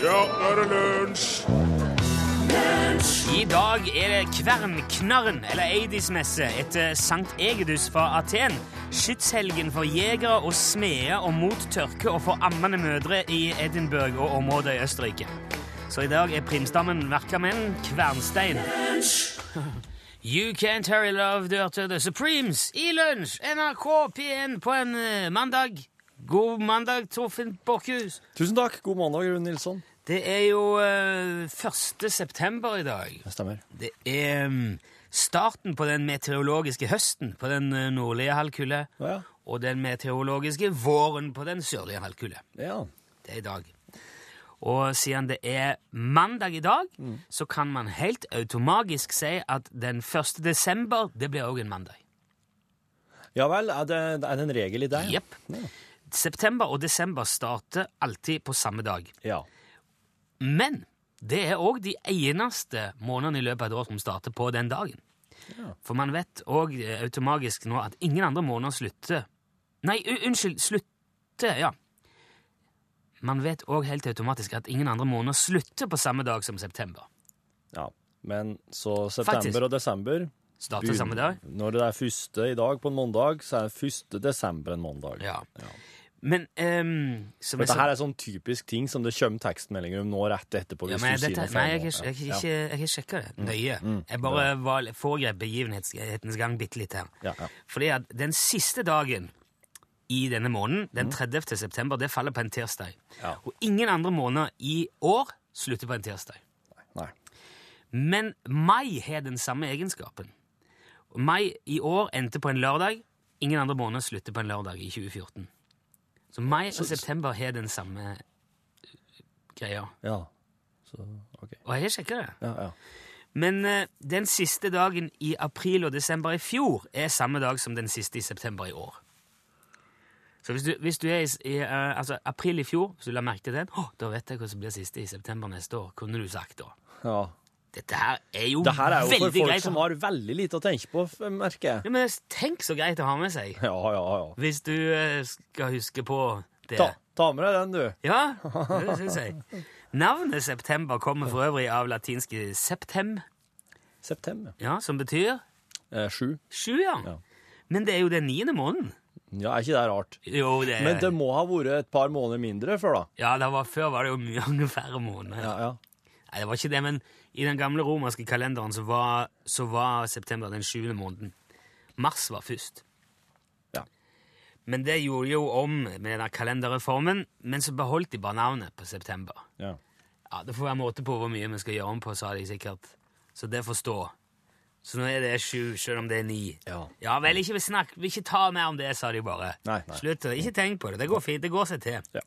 Ja, nå er det lunsj! I dag er det Kvernknarren, eller Eidis-messe, etter Sankt Egedus fra Aten. Skytshelgen for jegere og smeder og mot tørke og for ammende mødre i Edinburgh og området i Østerrike. Så i dag er primstammen Verkamenn Kvernstein. You Can't Hurry Love, du hørte The Supremes i lunsj, NRK P1 på en eh, mandag. God mandag, Torfinn Borkhus. Tusen takk. God mandag, Rune Nilsson. Det er jo eh, 1. september i dag. Det stemmer. Det er mm, starten på den meteorologiske høsten på den eh, nordlige halvkule, Ja, og den meteorologiske våren på den sørlige halvkule. ja. Det er i dag. Og siden det er mandag i dag, så kan man helt automatisk si at den 1. desember, det blir òg en mandag. ja vel, er det, er det en regel i deg? Jepp. September og desember starter alltid på samme dag. Ja. Men det er òg de eneste månedene i løpet av et år som starter på den dagen. For man vet òg automatisk nå at ingen andre måneder slutter Nei, u- unnskyld, slutter, ja. Man vet òg helt automatisk at ingen andre måneder slutter på samme dag som september. ja. Men så september Faktisk. og desember Starter samme dag. Når det er første i dag på en mandag, så er det første desember en mandag. Ja. Men ehm, som jeg Dette sa- her er sånn typisk ting som det kommer tekstmeldinger om nå rett etterpå. Ja, hvis men du jeg, sier dette, noe nei, feil jeg, nå. har ikke- jeg, Ja. Mm. har ikke- jeg, sjekka det nøye. Jeg bare var, foregrep begivenhetens gang bitte litt her. Ja, ja. Fordi at den siste dagen i denne måneden, den 30. september, det faller på en tirsdag. Ja. Og ingen andre måneder i år slutter på en tirsdag. Nei. Men mai har den samme egenskapen. Mai i år endte på en lørdag. Ingen andre måneder slutter på en lørdag i 2014. Så mai og september har den samme greia. Ja. Så, ok. Og jeg har sjekka det. Ja, ja. Men eh, den siste dagen i april og desember i fjor er samme dag som den siste i september i år. Så hvis du, hvis du er i, s- i eh, altså april i fjor, hvis du la merke til den, «Åh, da vet jeg hva som blir siste i september neste år, kunne du sagt da. ja. Dette her er jo, Det her er jo for veldig folk greit. å som ha- har veldig lite å tenke på, f- merker jeg. ja, men tenk så greit å ha med seg, Ja, ja, ja. hvis du eh, skal huske på det. Ta, ta med deg den, du. Ja, det synes jeg. Navnet september kommer for øvrig av latinske septem, September. ja, som betyr Eh, sju. sju, ja. Ja. Men det er jo den niende måneden. Ja, er ikke det rart? Jo, det Men det må ha vært et par måneder mindre før, da. Ja, det var, før var det jo mye mange færre måneder. Ja, ja. Nei, det var ikke det, men i den gamle romerske kalenderen så var, så var september den sjuende måneden. Mars var først. Ja. Men det gjorde jo om med denne kalenderreformen, men så beholdt de bare navnet på september. ja. Ja, Det får være måte på hvor mye vi skal gjøre om på, sa de sikkert. Så det får stå. Så nå er det sju, selv om det er ni. Ja. vel, ikke snakk, ikke ta mer om det, sa de bare. Nei, nei. Slutt, å- ikke tenk på det. Det går fint, det går seg til. Ja.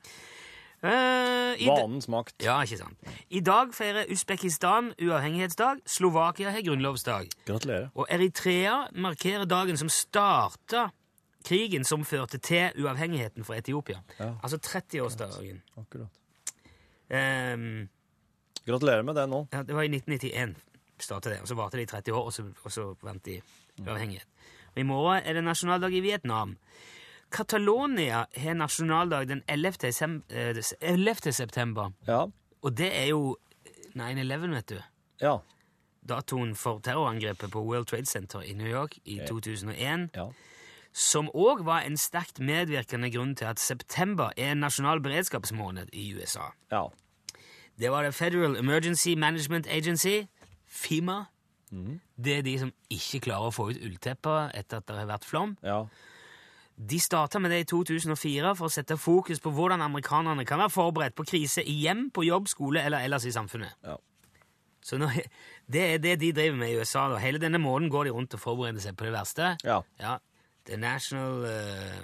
Eh, i da- Vanens makt. Ja, ikke sant. I dag feirer Usbekistan uavhengighetsdag, Slovakia har grunnlovsdag, Gratulerer. og Eritrea markerer dagen som starta krigen som førte til uavhengigheten fra Etiopia. Ja. Altså 30-årsdagen. Akkurat. Ehm, Gratulerer med det nå. ja, det var i 1991 startet det, og så varte det i 30 år, og så, og så vant de uavhengighet. Og I morgen er det nasjonaldag i Vietnam. Catalonia har nasjonaldag den 11. desem- eh, des- 11. september. Ja. Og det er jo 9-11, vet du. Ja. Datoen for terrorangrepet på World Trade Center i New York i 2001, ja. som òg var en sterkt medvirkende grunn til at september er en nasjonal beredskapsmåned i USA. ja. Det var det Federal Emergency Management Agency, FEMA. Det er de som ikke klarer å få ut ulltepper etter at det har vært flom. ja. De starta med det i 2004 for å sette fokus på hvordan amerikanerne kan være forberedt på krise i hjem, på jobb, skole eller ellers i samfunnet. Ja. Så nå, det er det de driver med i USA. da. Hele denne måneden går de rundt og forbereder seg på det verste. Ja. The National eh,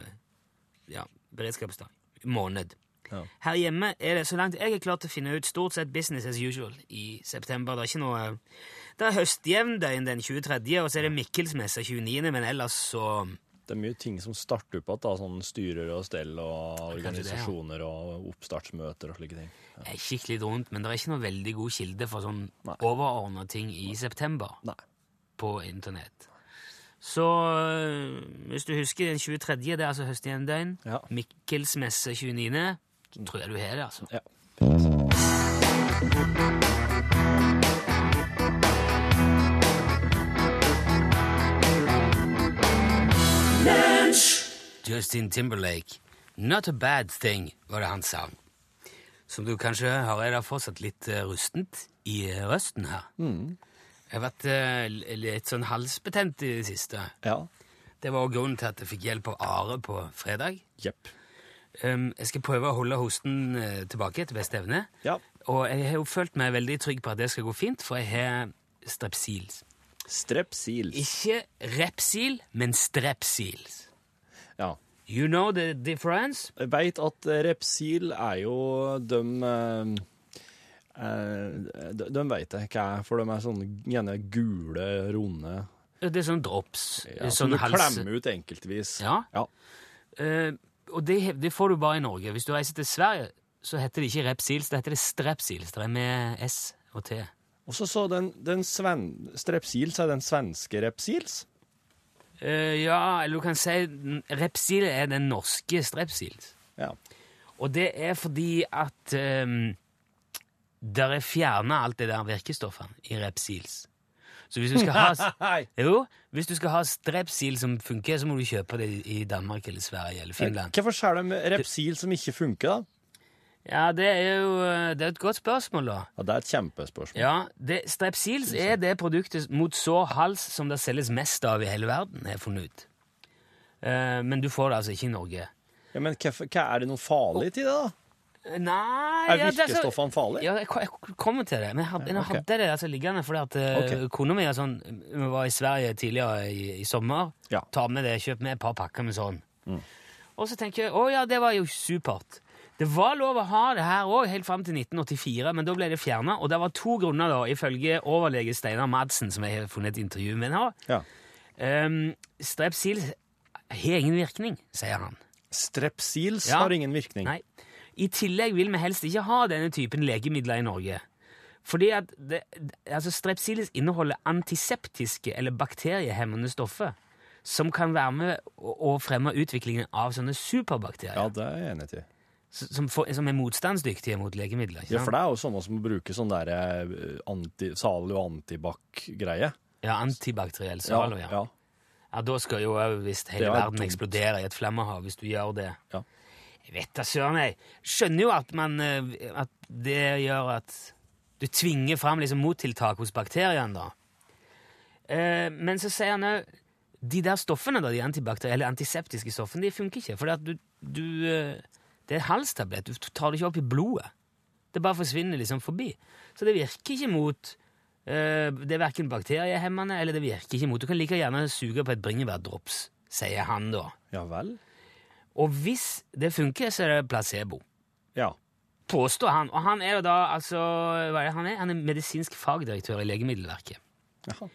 ja, Beredskapsdag. Måned. Ja. Her hjemme er det, så langt jeg har klart å finne ut, stort sett business as usual i september. Det er ikke noe... Det er høstjevndøgn den 23., og så er det Mikkelsmessa 29., men ellers så Det er mye ting som starter opp igjen, sånn styrer og stell og Kanskje det, ja. organisasjoner og oppstartsmøter og slike ting. Jeg kikker litt rundt, men det er ikke noe veldig god kilde for sånn Nei. overordna ting i september Nei. på internett. Så øh, hvis du husker den 23., det er altså høstjevndøgn. Ja. Mikkelsmesse 29. Tror jeg du har det, altså. Ja. Justin Timberlake. Not a bad thing, var det han sa. Som du kanskje hører, er det fortsatt litt eh, rustent i eh, røsten her. Jeg har vært eh, l- litt sånn halsbetent i det siste. Ja. Det var også grunnen til at jeg fikk hjelp av Are på fredag. Jepp. Um, jeg skal prøve å holde hosten eh, tilbake etter beste evne. Ja. Og jeg har jo følt meg veldig trygg på at det skal gå fint, for jeg har strepsils. Strepsils. Ikke repsil, men strepsils. Ja. You know the difference? Jeg veit at eh, Repsil er jo De eh, eh, de, de veit jeg hva er, for de er sånne gjerne gule, runde Det er sånn drops. ja, Som sånn du hals- klemmer ut enkeltvis. Ja. ja. Eh, og det, det får du bare i Norge. Hvis du reiser til Sverige, så heter det ikke repsils, det heter det strepsils. Det er med S og T. Og så så den, den sven, Strepsils er den svenske Repsils. Eh, ja, eller du kan si n- repsil er den norske strepsils. Ja. Og det er fordi at um, der er fjerna alt det der virkestoffet i repsils. Så hvis du skal ha s- Hei! Jo, hvis du skal ha strepsil som funker, så må du kjøpe det i Danmark eller Sverige eller Finland. Hvorfor skjer de Repsil som ikke funker, da? Ja, det er jo eh, det er et godt spørsmål, da. Ja, Det er et kjempespørsmål. Ja, det, Strepsils er det produktet mot sår hals som det selges mest av i hele verden, har jeg funnet ut. Eh, men du får det altså ikke i Norge. Ja, men hvorfor- hva er det noe farlig til det, da? Nei Er ja, det så- virkestoffene farlige? Ja, jeg, ko- jeg ko- kommer til det. Men jeg hadde, jeg Ja, ok. hadde det altså liggende fordi at eh, Ok. kona mi er sånn Vi var i Sverige tidligere i, i sommer. Ja. Mm. Ta med det, kjøp med et par pakker med sånn. Og så tenker jeg å ja, det var jo supert. Det var lov å ha det her òg, helt fram til 1984, men da ble det fjerna. Og det var to grunner, da, ifølge overlege Steinar Madsen, som jeg har funnet et intervju med nå. Ja. Um, Strepsil har ingen virkning, sier han. Strepsils Ja. har ingen virkning. Nei. I tillegg vil vi helst ikke ha denne typen legemidler i Norge. Fordi at det, altså Strepsilis inneholder antiseptiske eller bakteriehemmende stoffer som kan være med å, å fremme utviklingen av sånne superbakterier Ja, det er jeg enig til. s- som, får- som er motstandsdyktige mot legemidler. Ikke Ja, for sant? det er jo sånne som bruker sånn der eh, anti, Zalo antibac-greie. Ja, antibakteriell salo, ja. ja. Ja, Da skal jo også visst hele Det er verden dumt. eksplodere i et flammehav hvis du gjør det. Ja. Jeg vet da søren, jeg. Skjønner jo at, man, eh, at det gjør at du tvinger fram liksom mottiltak hos bakteriene, da. Eh, men så sier han òg de der stoffene, da, de antibakterielle eller antiseptiske stoffene, de funker ikke. For du, du eh, Det er en halstablett. Du tar det ikke opp i blodet. Det bare forsvinner liksom forbi. Så det virker ikke mot eh, Det er verken bakteriehemmende eller det virker ikke mot. Du kan like gjerne suge på et bringebærdrops, sier han da. Ja vel? Og hvis det funker, så er det placebo. Ja. Påstår han. Og han er jo da altså Hva er det han er? Han er medisinsk fagdirektør i Legemiddelverket. Jaha.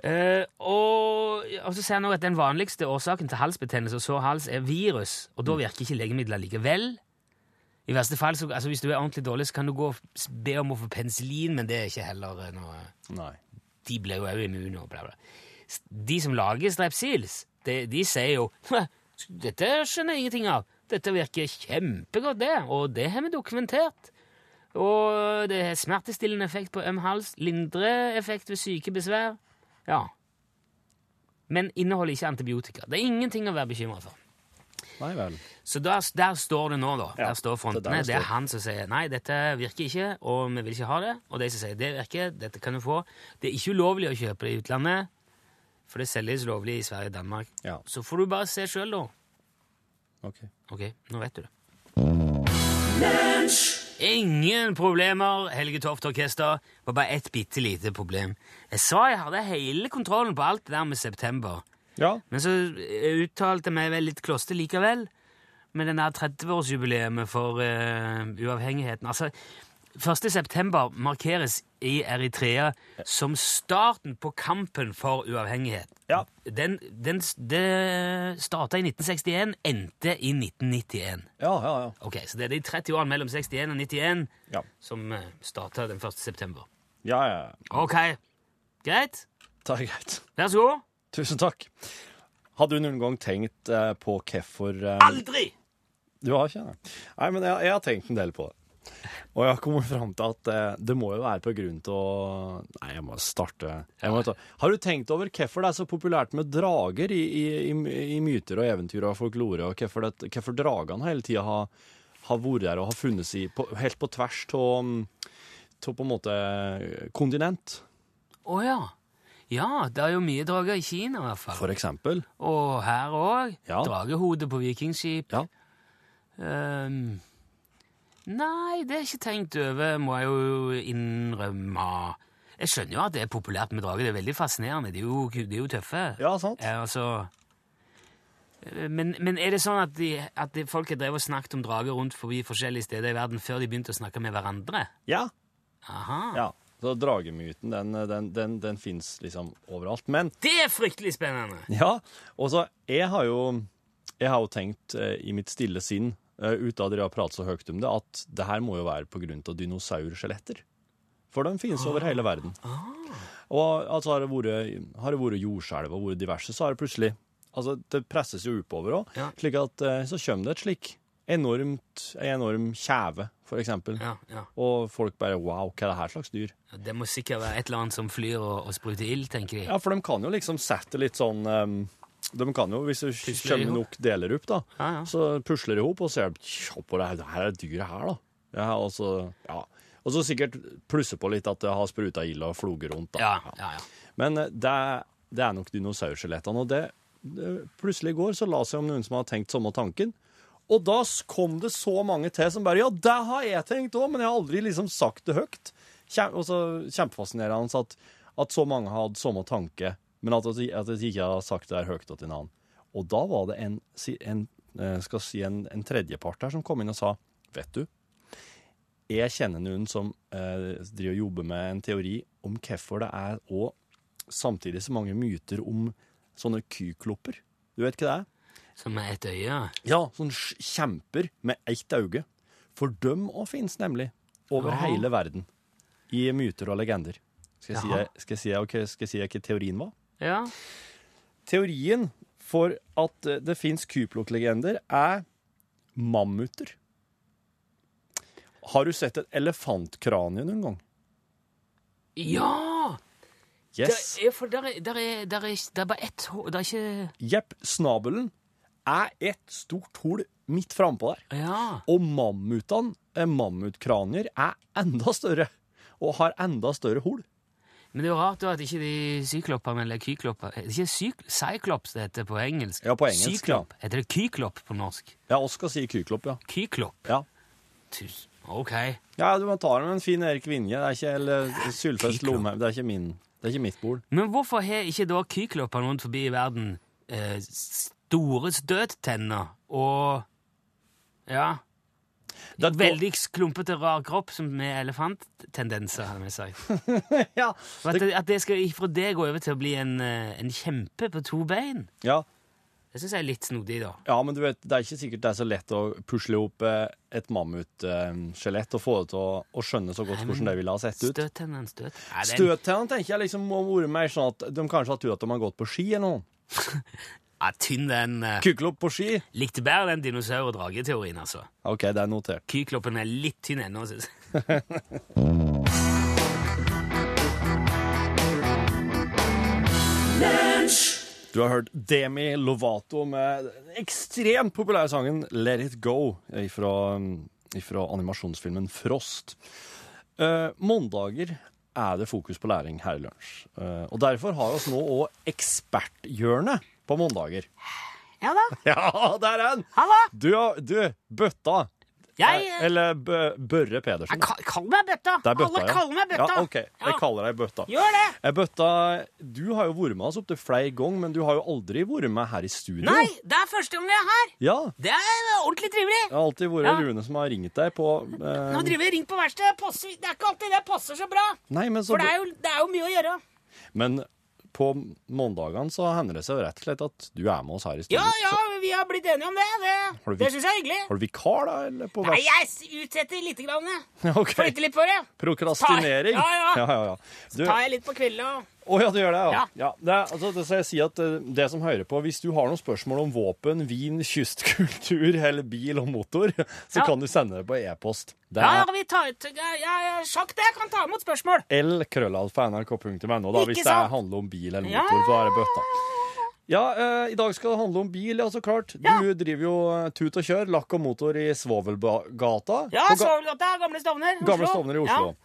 Eh, og, og så sier han også at den vanligste årsaken til halsbetennelse og sår hals er virus, og da virker ikke legemidler likevel. I verste fall, så, altså Hvis du er ordentlig dårlig, så kan du gå og s- be om å få penicillin, men det er ikke heller eh, noe Nei. De blir jo også immune og bla, bla. S- De som lager strepsils, de, de sier jo «Hva, Dette skjønner jeg ingenting av. Dette virker kjempegodt, det, og det har vi dokumentert. Og det har smertestillende effekt på øm hals, lindrer effekt ved syke besvær. Ja. Men inneholder ikke antibiotika. Det er ingenting å være bekymra for. Nei vel. Så der, der står det nå, da. Ja, der står frontene. det Det er der er, det står. han som sier nei, dette virker ikke, og vi vil ikke ha det. Og de som sier det virker, dette kan du få. Det er ikke ulovlig å kjøpe det i utlandet, for det selges lovlig i Sverige og Danmark. Ja. Så får du bare se sjøl, da. Ok. Ok, nå vet du det. Ingen problemer, Helge Toft Orkester. Det var bare ett bitte lite problem. Jeg sa jeg hadde hele kontrollen på alt det der med september. Ja. Men så eh, uttalte jeg meg vel litt kloster likevel, med den der 30-årsjubileet for eh, uavhengigheten. Altså, 1. september markeres i Eritrea som starten på kampen for uavhengighet. Ja. Den, den s- det starta i 1961, endte i 1991. Ja, ja, ja. Ok, Så det er de 30 årene mellom 61 og 91 Ja, som eh, starta den 1. september. ja. ja. Ok, greit. Det er greit. Vær så god. Tusen takk. Hadde du noen gang tenkt eh, på hvorfor eh, Aldri! Du har ikke det? Nei, men jeg, jeg har tenkt en del på det. Og jeg har kommet fram til at eh, det må jo være på grunn til Nei, jeg må starte jeg må ta. Har du tenkt over hvorfor det er så populært med drager i, i, i, i myter og eventyr og folklore, og hvorfor, det- hvorfor dragene hele tida har, har vært der og har funnes i, på, helt på tvers av på en måte kontinent, Å ja. Ja, det er jo mye drager i Kina i hvert fall. for eksempel? Og her òg. Ja. Dragehode på vikingskip. Ja. Ehm, nei, det er ikke tenkt over, må jeg jo innrømme. Jeg skjønner jo at det er populært med drager. Det er veldig fascinerende. De er jo, de er jo tøffe. Ja, sant? Eh, altså, eh, men, men er det sånn at, de, at de, folk har drevet og snakket om drager rundt forbi forskjellige steder i verden før de begynte å snakke med hverandre? Ja. Aha. ja. Så dragemyten, den, den, den, den fins liksom overalt. Men Det er fryktelig spennende! Ja, og så jeg har jo, jeg har jo tenkt eh, i mitt stille sinn, eh, uten at dere har pratet så høyt om det, at det her må jo være på grunn av dinosaurskjeletter. For de finnes over hele verden. Ah. Og altså, har det vært, har det vært jordskjelv og vært diverse, så har det plutselig Altså, det presses jo oppover òg, Ja. slik at eh, så kommer det et slik enormt, en enorm kjeve, for eksempel. Ja, ja. Og folk bare Wow, hva er det her slags dyr? Det må sikkert være et eller annet som flyr og, og spruter ild, tenker de. Ja, for de kan jo liksom sette litt sånn ehm, De kan jo, hvis du Pusler kommer ihop. nok deler opp, da, Ja, ja. så pusler de ihop og ser Se på det her, det her er dyret her, da. Ja, og så ja. Og så sikkert plusser på litt at det har spruta ild og floget rundt, da. Ja, ja, ja. Men eh, det, er- det er nok dinosaurskjelettene, og det, det Plutselig i går så la seg om noen som har tenkt samme tanken. Og da s- kom det så mange til som bare Ja, det har jeg tenkt òg, men jeg har aldri liksom sagt det høyt. Kjem, og så Kjempefascinerende at, at så mange hadde samme tanke, men at, at, at jeg ikke har sagt det her høyt til en annen. Og da var det en, si- en, eh, skal si en, en tredjepart her som kom inn og sa Vet du, jeg kjenner noen som eh, driver og jobber med en teori om hvorfor det er òg samtidig så mange myter om sånne kyklopper. Du vet hva det er? Som med ett øye. Ja, sånn sj- kjemper med ett auge. For dem òg finnes nemlig over Jaha. hele verden. I myter og legender. Skal jeg si Jaha. skal jeg si, ok, skal jeg si hva teorien var? Ja. Teorien for at eh, det fins kyploklegender, er mammuter. Har du sett et elefantkranie noen gang? Ja! Yes. Der er, for der er, der er, der er, der er bare ett hår Det er ikke Jepp. Snabelen er et stort hull midt frampå der. Ja. Og mammutene, eh, mammutkranier, er enda større. Og har enda større hull. Men det er jo rart da at ikke de sykloppene eller kyklopper Er det ikke syk Cyclops det heter på engelsk? Ja, på engelsk, ja. Syklopp. Heter det kyklopp på norsk? Ja, oss skal si kyklopp, ja. Kyklopp? ja. Tus- Ok. Ja, du må ta det med en fin Erik Vinje. Det er ikke eller Sylfest Kyklopp. Lomheim. Det er ikke min. Det er ikke mitt bord. Men hvorfor har ikke da kykloppene rundt forbi i verden eh, store støttenner og Ja. Det er Veldig klumpete, rar kropp som med elefanttendenser, har vi sagt. Ja. Og At det, at det skal ifra det gå over til å bli en, eh, en kjempe på to bein, ja. det syns jeg er litt snodig, da. Ja, men du vet, det er ikke sikkert det er så lett å pusle opp eh, et mammutskjelett og få det til å, å skjønne så godt Nei, men- hvordan det ville ha sett ut. Støttennene, støt... Nei, det er en- Støttennene tenker jeg liksom må være mer sånn at de kanskje har trodd at de har gått på ski eller noe. Ja, tynn den. eh. Kyklopp på ski! Likte bedre den dinosaur- og drageteorien, altså. OK, det er notert. Kykloppen er litt tynn ennå, synes jeg. Du har hørt Demi Lovato med den ekstremt populære sangen Let It Go fra animasjonsfilmen Frost. Eh, mondager er det fokus på læring her i lunsj. Eh, og derfor har vi nå òg eksperthjørnet på mandager. Ja da. Ja, der er den! Halla! Du, har- du Bøtta. Jeg, eh, jeg, Eller Bø- Børre Pedersen. jeg ka- Kall meg Bøtta! Det er Bøtta, Alle kaller meg Bøtta! Ja, OK. Jeg kaller deg Bøtta. Gjør det! Eh, Bøtta, du har jo vært med oss opptil flere ganger, men du har jo aldri vært med her i studio. Nei, det er første gang vi er her! Ja, Det er eh, ordentlig Det trivelig! har alltid vært Ja. Rune som har ringt deg på eh, Nå driver jeg ring på verkstedet. Passer- Det er ikke alltid det passer så bra. Nei, men, så, For det er jo, det er jo mye å gjøre. men på mandagene så hender det seg rett og slett at du er med oss her i studio. Ja, ja, vi har blitt enige om det. Har Det, du det vik- syns jeg er hyggelig. Har du vikar, da? Eller på Nei, vers? jeg s- utsetter lite grann, jeg. Ok. Flytter litt på det. Prokrastinering? Tar- ja, ja. ja, ja. Du, Tar jeg litt på kvelden og Å ja, du gjør det, ja. Ja. ja. det, er, altså, det skal jeg si at eh, det som hører på, Hvis du har noen spørsmål om våpen, vin, kystkultur eller bil og motor, så Ja. kan du sende det på e-post. Det Ja, ja, er vi tar ut ja, ja, Sjakk, det. Jeg kan ta imot spørsmål. lkrøllalfa.nrk.no da, Ikke hvis det sant? handler om bil eller Ja. motor. Så er det bøtta. Ja, eh, I dag skal det handle om bil, ja, så klart. Du Ja. driver jo eh, tut og kjør, lakk og motor i Svovelgata. Ja, på ga- Svovelgata, Gamle Stovner. Oslo. Gamle Stovner i Oslo.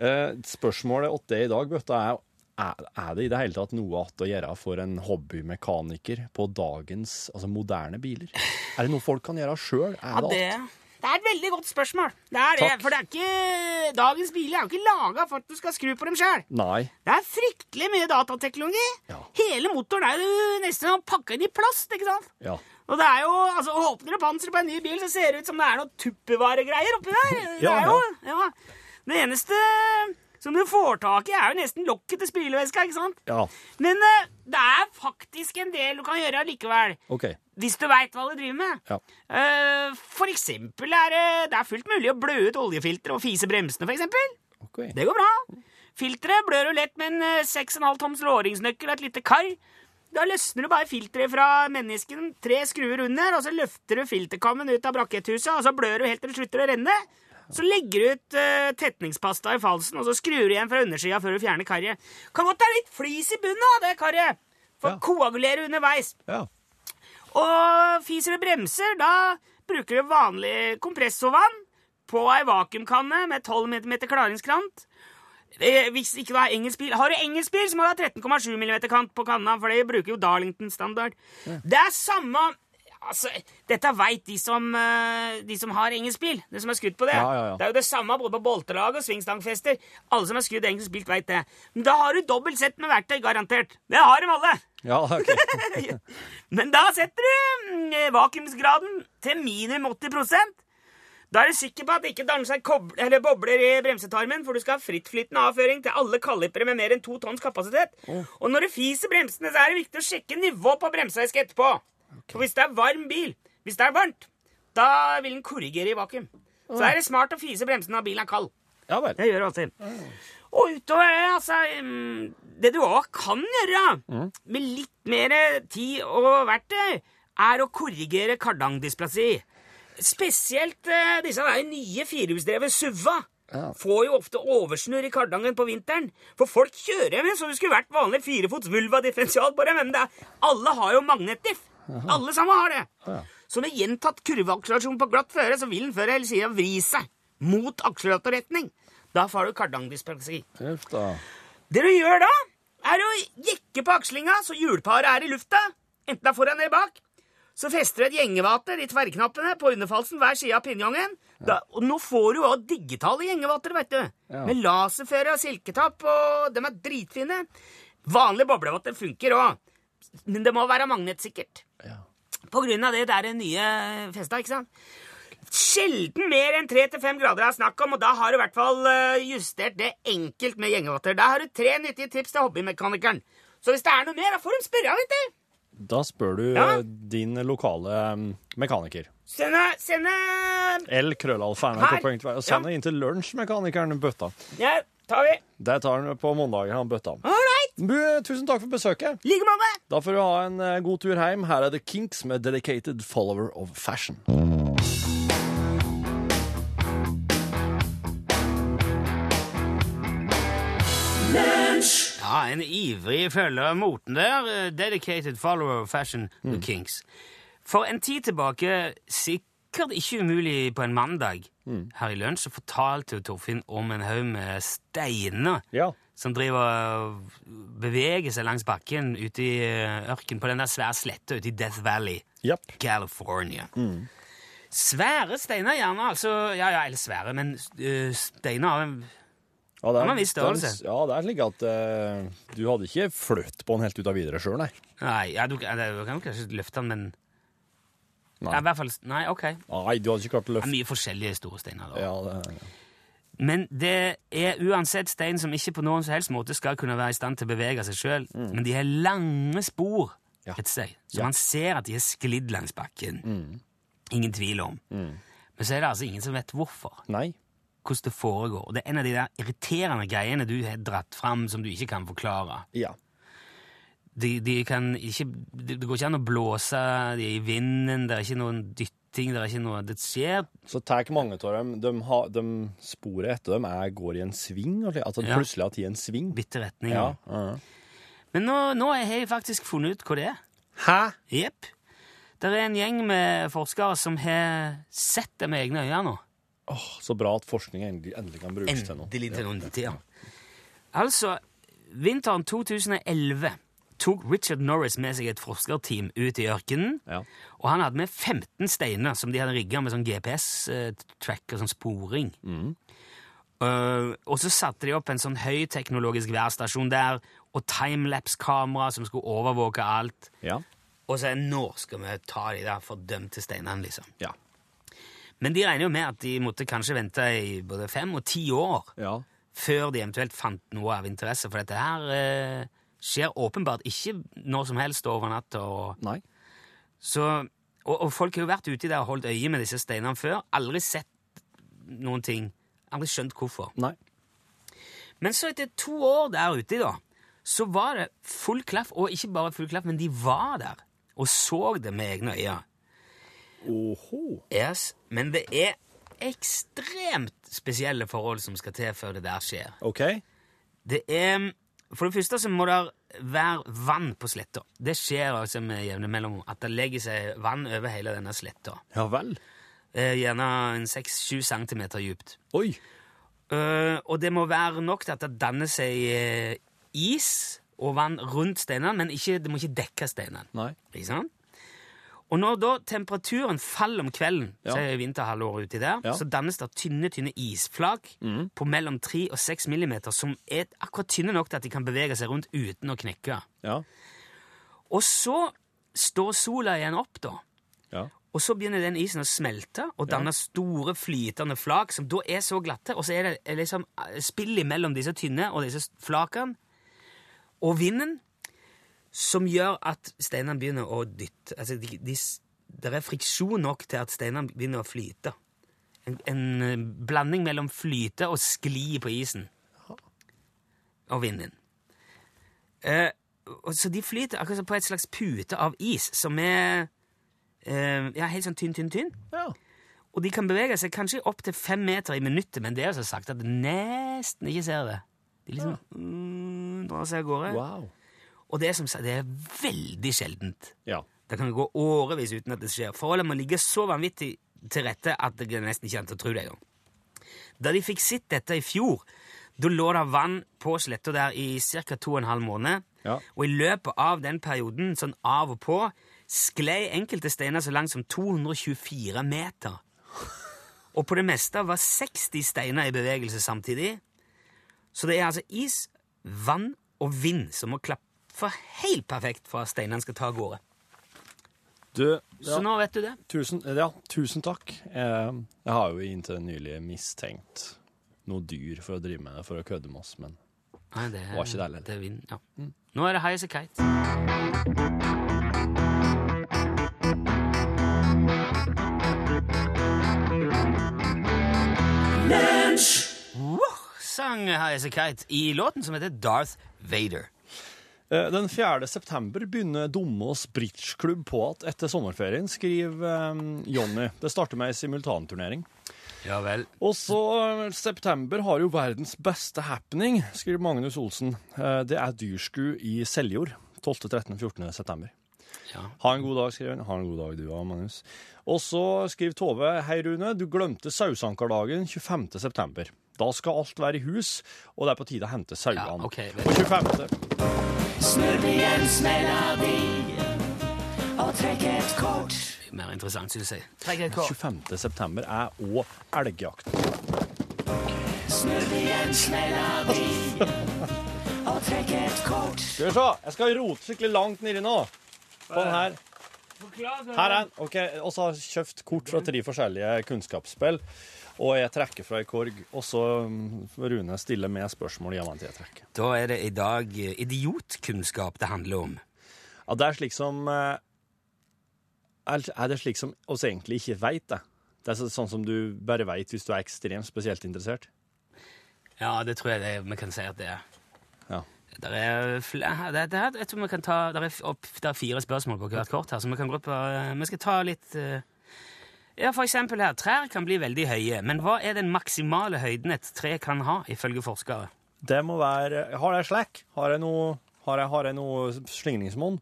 Eh, spørsmålet åt det i dag, Bøtta, er er er det i det hele tatt noe att å gjøre for en hobbymekaniker på dagens altså moderne biler? Er det noe folk kan gjøre sjøl? Ja, Er ja det det, att? det er et veldig godt spørsmål. Det er det, Takk. for det er ikke, dagens biler er jo ikke laga for at du skal skru på dem sjøl. Nei. Det er fryktelig mye datateknologi. Ja. Hele motoren er jo nesten sånn pakka inn i plast. ikke sant? Ja. Og det er jo, altså, Åpner du panseret på en ny bil, så ser det ut som det er noen tuppevaregreier oppi der. Det, Ja, er jo, ja. det eneste som du får tak i, er jo nesten lokket til spyleveska. ikke sant? ja. Men eh, det er faktisk en del du kan gjøre likevel. OK. Hvis du veit hva du driver med. Ja. Eh, for eksempel er det, det er fullt mulig å blø ut oljefilteret og fise bremsene, for eksempel. ok. Det går bra. Filteret blør jo lett med en eh, 6,5 toms låringsnøkkel og et lite kar. Da løsner du bare filteret fra mennesken, tre skruer under, og så løfter du filterkammen ut av braketthuset, og så blør du helt til det slutter å renne. Så legger du ut eh, tetningspasta i falsen, og så skrur du igjen fra undersida før du fjerner karret. Kan godt være litt flis i bunnen av det karret, for Ja. koagulere underveis. Ja. Og fiser du bremser, da bruker du vanlig kompressovann på ei vakuumkanne med 12 mm klaringskrant. Eh, Hvis ikke du har engelsk bil Har du engelsk bil, så må du ha 13,7 mm kant på kanna, for de bruker jo Darlington-standard. Det er samme Altså, dette veit de, som, eh, de som har engelsk bil. De som har skutt på det. Ja, ja, ja. Det er jo det samme både på boltelag og svingstangfester. Alle som har skutt engelsk bil, veit det. Men da har du dobbelt sett med verktøy, garantert. Det har de alle. ja ok. Men da setter du mm, vakuumsgraden til minimum 80 Da er du sikker på at det ikke danner seg kob- eller bobler i bremsetarmen, for du skal ha frittflytende avføring til alle kalipere med mer enn to tonns kapasitet. Og når du fiser bremsene, så er det viktig å sjekke nivået på bremseesket etterpå. For hvis det er varm bil, hvis det er varmt, da vil den korrigere i vakuum. Så er det smart å fise bremsene når bilen er kald. Ja vel. Jeg gjør alltid. Og utover det, altså mm, Det du òg kan gjøre, med litt mer tid og verktøy, er å korrigere kardangdysplasi. Spesielt eh, disse der nye firehjulsdrevne SUV-a. Får jo ofte oversnurr i kardangen på vinteren. For folk kjører med som det skulle vært vanlig firefots vulva-differensial på dem. Men det er, alle har jo magnetdiff. Alle sammen har det. Så med gjentatt kurveakselerasjon på glatt føre, så vil den før eller siden vri seg mot akseleratorretning. Da får du kardangdysplasi. Uff da. Det du gjør da, er å jekke på akslinga så hjulparet er i lufta, enten det er foran eller bak. Så fester du et gjengevater i tverrknappene på underfalsen hver side av pinjongen. Da, og nå får du jo også digitale gjengevater, vet du. Ja. Med laserføre og silketapp, og de er dritfine. Vanlig boblevater funker òg, men det må være magnetsikkert. Ja. På grunn av det der nye festa, ikke sant? Sjelden mer enn 3-5 grader er snakk om, og da har du i hvert fall eh, justert det enkelt med gjengevater. Da har du tre nyttige tips til hobbymekanikeren. Så hvis det er noe mer, da får de spørre, vet du. Da spør du Ja. eh, din lokale mm, mekaniker. Sende, sende eh, L-krøllalfa.nrk.no. Her. Send det inn til lunsjmekanikeren Bøtta. Ja, tar vi. Det tar han på mandager, han Bøtta. Ålreit. Bu, eh, tusen takk for besøket. I like måte. Da får du ha en eh, god tur hjem. Her er The Kinks med 'Dedicated Follower of Fashion'. Ja, en ivrig følger av moten der. eh, Dedicated follower of fashion, the Kings. For en tid tilbake, sikkert ikke umulig på en mandag, her i lunsj, så fortalte jo Torfinn om en haug med steiner Ja. som driver og beveger seg langs bakken ute i eh, ørken på den der svære sletta ute i Death Valley. Japp. California. Mm. Svære steiner, gjerne. altså, Ja, ja, eller svære, men eh, steiner av en Ja, det Han har en viss størrelse. det er- Ja, det er slik at eh, du hadde ikke flytt på den helt ut av videre sjøl, nei. Nei, ja, du, ja, du kan jo kanskje løfte den, men Nei. Ja, i hvert fall, nei, ok. Det Nei, du hadde ikke klart å er løfte mye forskjellige store steiner. da. ja, det, Men det er uansett Mm. stein som ikke på noen som helst måte skal kunne være i stand til å bevege seg sjøl. Men de har lange spor et sted. Så man ser at de har sklidd langs bakken. Mm. Ingen tvil om. Men så er det altså ingen som vet hvorfor. Nei. Hvordan det foregår. Og det er en av de der irriterende greiene du har dratt fram som du ikke kan forklare. Ja. De, de kan ikke, det det går ikke an å blåse de er i vinden, det er ikke noen dytting, det er ikke noe Det skjer Så tar mange av dem de, har- de Sporet etter dem er, går i en sving. og slik. Altså Ja. plutselig at de er en sving. bitte retninger. Ja. ja. Men nå, nå har jeg faktisk funnet ut hva det er. Hæ? Jepp. Det er en gjeng med forskere som har sett det med egne øyne nå. Så bra at forskning endelig, endelig kan brukes til noe. Endelig til noen nyttig, ja. Altså, vinteren 2011 tok Richard Norris med seg et forskerteam ut i ørkenen, Ja. og han hadde med 15 steiner som de hadde rigga med sånn GPS-tracker, sånn sporing. Eh, og så satte de opp en sånn høyteknologisk værstasjon der, og timelapse-kamera som skulle overvåke alt. Ja. Og så er det, nå skal vi ta de der fordømte steinene, liksom. Ja. Men de regner jo med at de måtte kanskje vente i både fem og ti år ja. før de eventuelt fant noe av interesse, for dette her eh, skjer åpenbart ikke når som helst over natta. Og, Nei. så, og, og folk har jo vært ute der og holdt øye med disse steinene før, aldri sett noen ting, aldri skjønt hvorfor. Nei. Men så etter to år der ute da, så var det full klaff, og ikke bare full klaff, men de var der og så det med egne øyne. Oho. Yes, men det er ekstremt spesielle forhold som skal til før det der skjer. OK. Det er For det første så må det være vann på sletta. Det skjer altså med jevne mellomrom at det legger seg vann over hele denne sletta. Ja vel. Eh, Gjerne en 6-7 cm dypt. Oi. Eh, og det må være nok til at det danner seg eh, is og vann rundt steinene, men ikke, det må ikke dekke steinene. Nei. Ikke sant? Og når da temperaturen faller om kvelden, så Ja. er vinterhalvåret uti der, Ja. Mhm. så dannes det tynne tynne isflak på mellom 3 og 6 millimeter, som er akkurat tynne nok til at de kan bevege seg rundt uten å knekke. Ja. Og så står sola igjen opp, da. Ja. Og så begynner den isen å smelte og danne store flytende flak, som da er så glatte. Og så er det liksom eh, spill imellom disse tynne og disse flakene. Og vinden som gjør at steinene begynner å dytte. Altså, de, de, s- det er friksjon nok til at steinene begynner å flyte. En, en eh, blanding mellom flyte og skli på isen. Og vinden. Eh, og så de flyter akkurat som på et slags pute av is, som er eh, ja, helt sånn tynn, tynn, tynn. ja. Og de kan bevege seg kanskje opp til fem meter i minuttet, men det er jo så sakte at du nesten ikke ser det. De liksom mm, drar seg av gårde. Wow. Og det er som sagt, det er veldig sjeldent. Ja. Det kan gå årevis uten at det skjer. Forholdet må ligge så vanvittig til rette at det er nesten ikke an til å tro det engang. Da de fikk sett dette i fjor, da lå det vann på sletta der i ca. to og en halv måned. Ja. Og i løpet av den perioden, sånn av og på, sklei enkelte steiner så langt som 224 meter. Og på det meste var 60 steiner i bevegelse samtidig. Så det er altså is, vann og vind som må klaffe helt perfekt for at steinene skal ta av gårde. Du Så ja. nå vet du det. Tusen, ja, tusen takk. Eh, Jeg har jo inntil nylig mistenkt noe dyr for å drive med det, for å kødde med oss, men Nei, det Var ikke det heller. det er vind, ja. Nå er det high as a kite. Wow, sang high as a kite i låten som heter Darth Vader. Eh, Den 4. september begynner Domås bridgeklubb på at etter sommerferien, skriver eh, Jonny. Det starter med ei simultanturnering. Ja vel. Og så eh, september har jo verdens beste happening, skriver Magnus Olsen. Eh, Det er dyrskue i Seljord. 12., 13., 14. september. Ja. Ha en god dag, skriver han. Ha en god dag, du òg, Magnus. Og så skriver Tove. Hei, Rune. Du glemte sausankerdagen 25. september. Da skal alt være i hus, og det er på tide å hente sauene. Ja, ok, vel. På 25. Mer interessant, synes jeg. Trekk et kort. 25. september er òg elgjakt. Skal vi se, jeg skal rote skikkelig langt nedi nå. På den her. Her er den. Ok, Og så har jeg kjøpt kort fra tre forskjellige kunnskapsspill. Og jeg trekker fra ei korg, og så mm, Rune stiller med spørsmål gjennom at jeg trekker. Da er det i dag idiotkunnskap det eh, handler om. Ja, det er slik som eh, Er er det slik som oss egentlig ikke veit, det. Det er så- sånn som du bare veit hvis du er ekstremt spesielt interessert. Ja, det tror jeg det, vi kan si at det er. Ja. Der er, fl- det, det her, jeg tror vi kan ta, der er, f- opp, der er fire spørsmål på hvert kort her, så vi kan gå på Vi skal ta litt eh, Ja, for eksempel her. Trær kan bli veldig høye, men hva er den maksimale høyden et tre kan ha, ifølge forskere? Det må være Har jeg slack? Har jeg noe har jeg, har jeg noe slingringsmonn?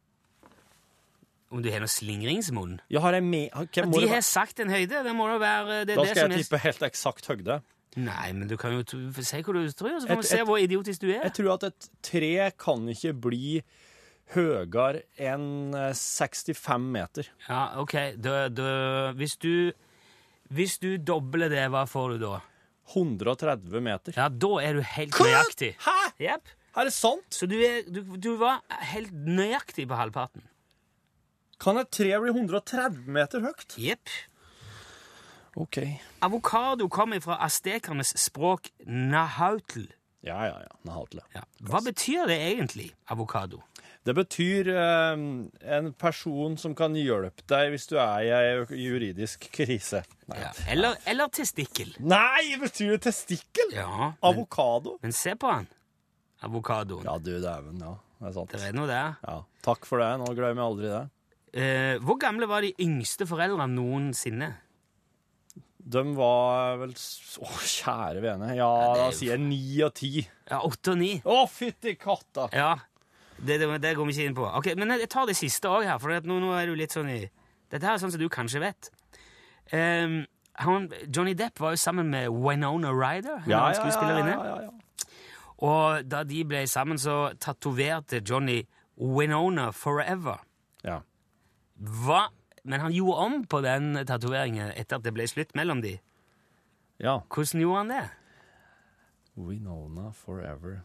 Om du har noe slingringsmonn? Ja, har jeg med har- hvem må De det har være? sagt en høyde. Det må da være eh, det, er Da det skal som jeg er tippe helt eksakt høyde. Nei, men du kan jo t- si hva du tror, så Et- får vi se et- hvor idiotisk du er. Jeg tror at et tre kan ikke bli høyere enn eh, 65 meter. Ja, OK. Da, da, hvis du Hvis du dobler det, hva får du da? 130 meter. Ja, da er du helt nøyaktig. Hæ? Jep. Er det sant? Så du, er, du, du var helt nøyaktig på halvparten. Kan et tre bli 130 meter høyt? Jepp. OK. Avokado kommer fra aztekernes språk nahautl. Ja, ja, ja. Nahatla. Ja. Hva betyr det egentlig, avokado? Det betyr eh, en person som kan hjelpe deg hvis du er i ei juridisk krise. Nei, Ja. Eller, eller testikkel. Nei betyr det testikkel? Ja, men, Avokado? men se på han. Avokadoen. Ja, du dæven. Ja, det er sant. Det er noe der. Ja. Takk for det. Nå glemmer jeg aldri det. Eh, hvor gamle var de yngste foreldrene noensinne? De var vel s- Å, kjære vene. Ja, det er da jo- sier jeg ni av ti. Ja, Åtte og ni. Å, fytti katta! Ja, det, det, det går vi ikke inn på. Ok, Men jeg tar det siste òg her, for at nå, nå er du litt sånn i Dette her er sånn som du kanskje vet. Ehm, han, Johnny Depp var jo sammen med Winona Ryder, en annen skuespillerinne. ja, ja, ja. Og da de ble sammen, så tatoverte Johnny Winona Forever. Ja. Hva? Men han gjorde om på den tatoveringen etter at det ble slutt mellom de. ja. Hvordan gjorde han det? Winona Forever.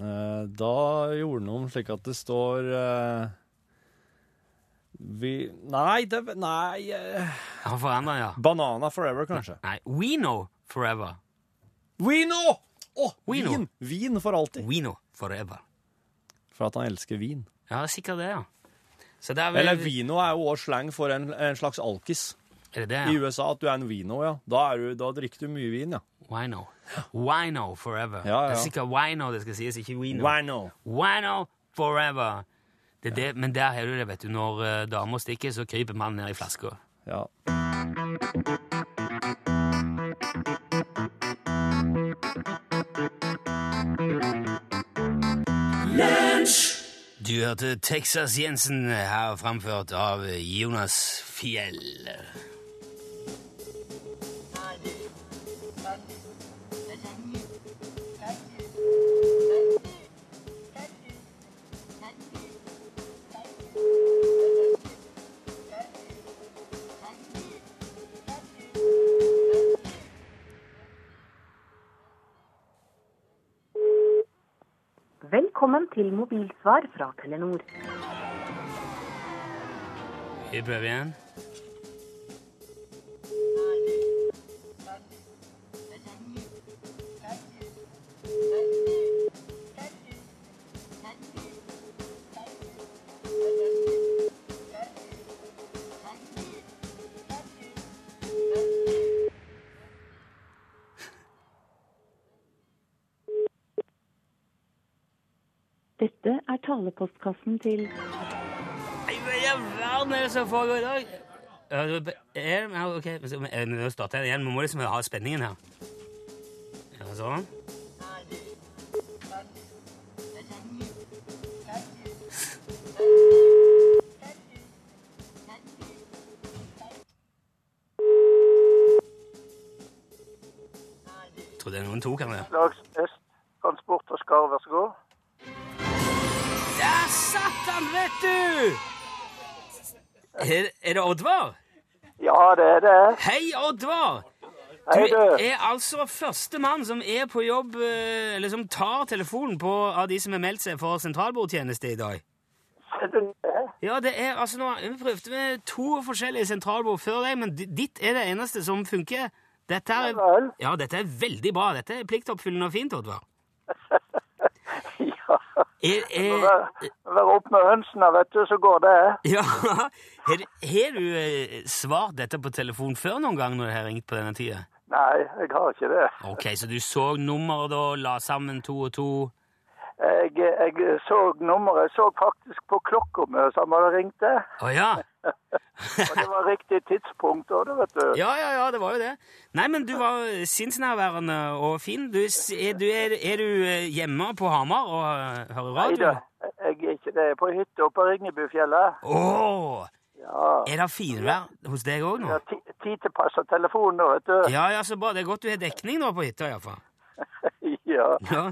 Eh, da gjorde han om slik at det står eh, vi, Nei, det Nei eh, Han forandra, ja. Banana Forever, kanskje. Nei, Wino Forever. Wino! Å, Wino. vin! Vin for alltid. Wino Forever. For at han elsker vin. Ja, sikkert det, ja. Så der vil- Eller vino er jo også slang for en, en slags alkis. Er det det? I Ja? USA at du er en vino, ja. Da, er du, da drikker du mye vin, ja. Wino. Wino forever. Ja, ja. Det er sikkert wino det skal sies, ikke wino. Wino. Wino forever. Det er det, men der har du det, vet du. Når eh, damer stikker, så kryper mannen ned i flaska. Ja. Du hørte Texas Jensen her framført av Jonas Fjell. Velkommen til mobilsvar fra Telenor. Vi prøver igjen. Dette er talepostkassen til Nei, hva i all verden er det som foregår i dag? Ja, det var- er- ja, ok, Så, eh, Nå starter jeg igjen. Vi må liksom ha spenningen her. Ja, sånn. Trodde jeg noen tok han der. Slags Øst Transport og Skar, vær så god. Der satt han, vet du! Er, er det Oddvar? Ja, det er det. Hei, Oddvar! Hei, Du du. er altså første mann som er på jobb, eh, eller som tar telefonen på av de som har meldt seg for sentralbordtjeneste i dag. Ser du det? Ja, det er altså nå, Vi prøvde med to forskjellige sentralbord før deg, men di- ditt er det eneste som funker. Dette Ja vel. er, ja, dette er veldig bra. Dette er pliktoppfyllende og fint, Oddvar. Ja, Er, er, Vær, vær opp med hønsene, vet du, så går det. ja, har, har du eh, svart dette på telefon før noen gang når jeg har ringt på denne tida? Nei, jeg har ikke det. Ok, så du så nummeret da, la sammen to og to? Jeg, jeg så nummeret, jeg så faktisk på klokka mi som hadde ringt det. Å ja. Og det var riktig tidspunkt òg, det, vet du. Ja, ja, ja, det var jo det. Nei, men du var sinnsnærværende og fin. Du, s- er, du, er, er du eh, hjemme på Hamar og eh, hører Nei radio? da, jeg er ikke det. Jeg er på hytta oppe på Ringebyfjellet. Å! Ja. er det finvær hos deg òg nå? Jeg har ti- tid til å passe telefonen nå, vet du. Ja, ja, så bra. Det er godt du har dekning nå på hytta, iallfall. Ja. Ja.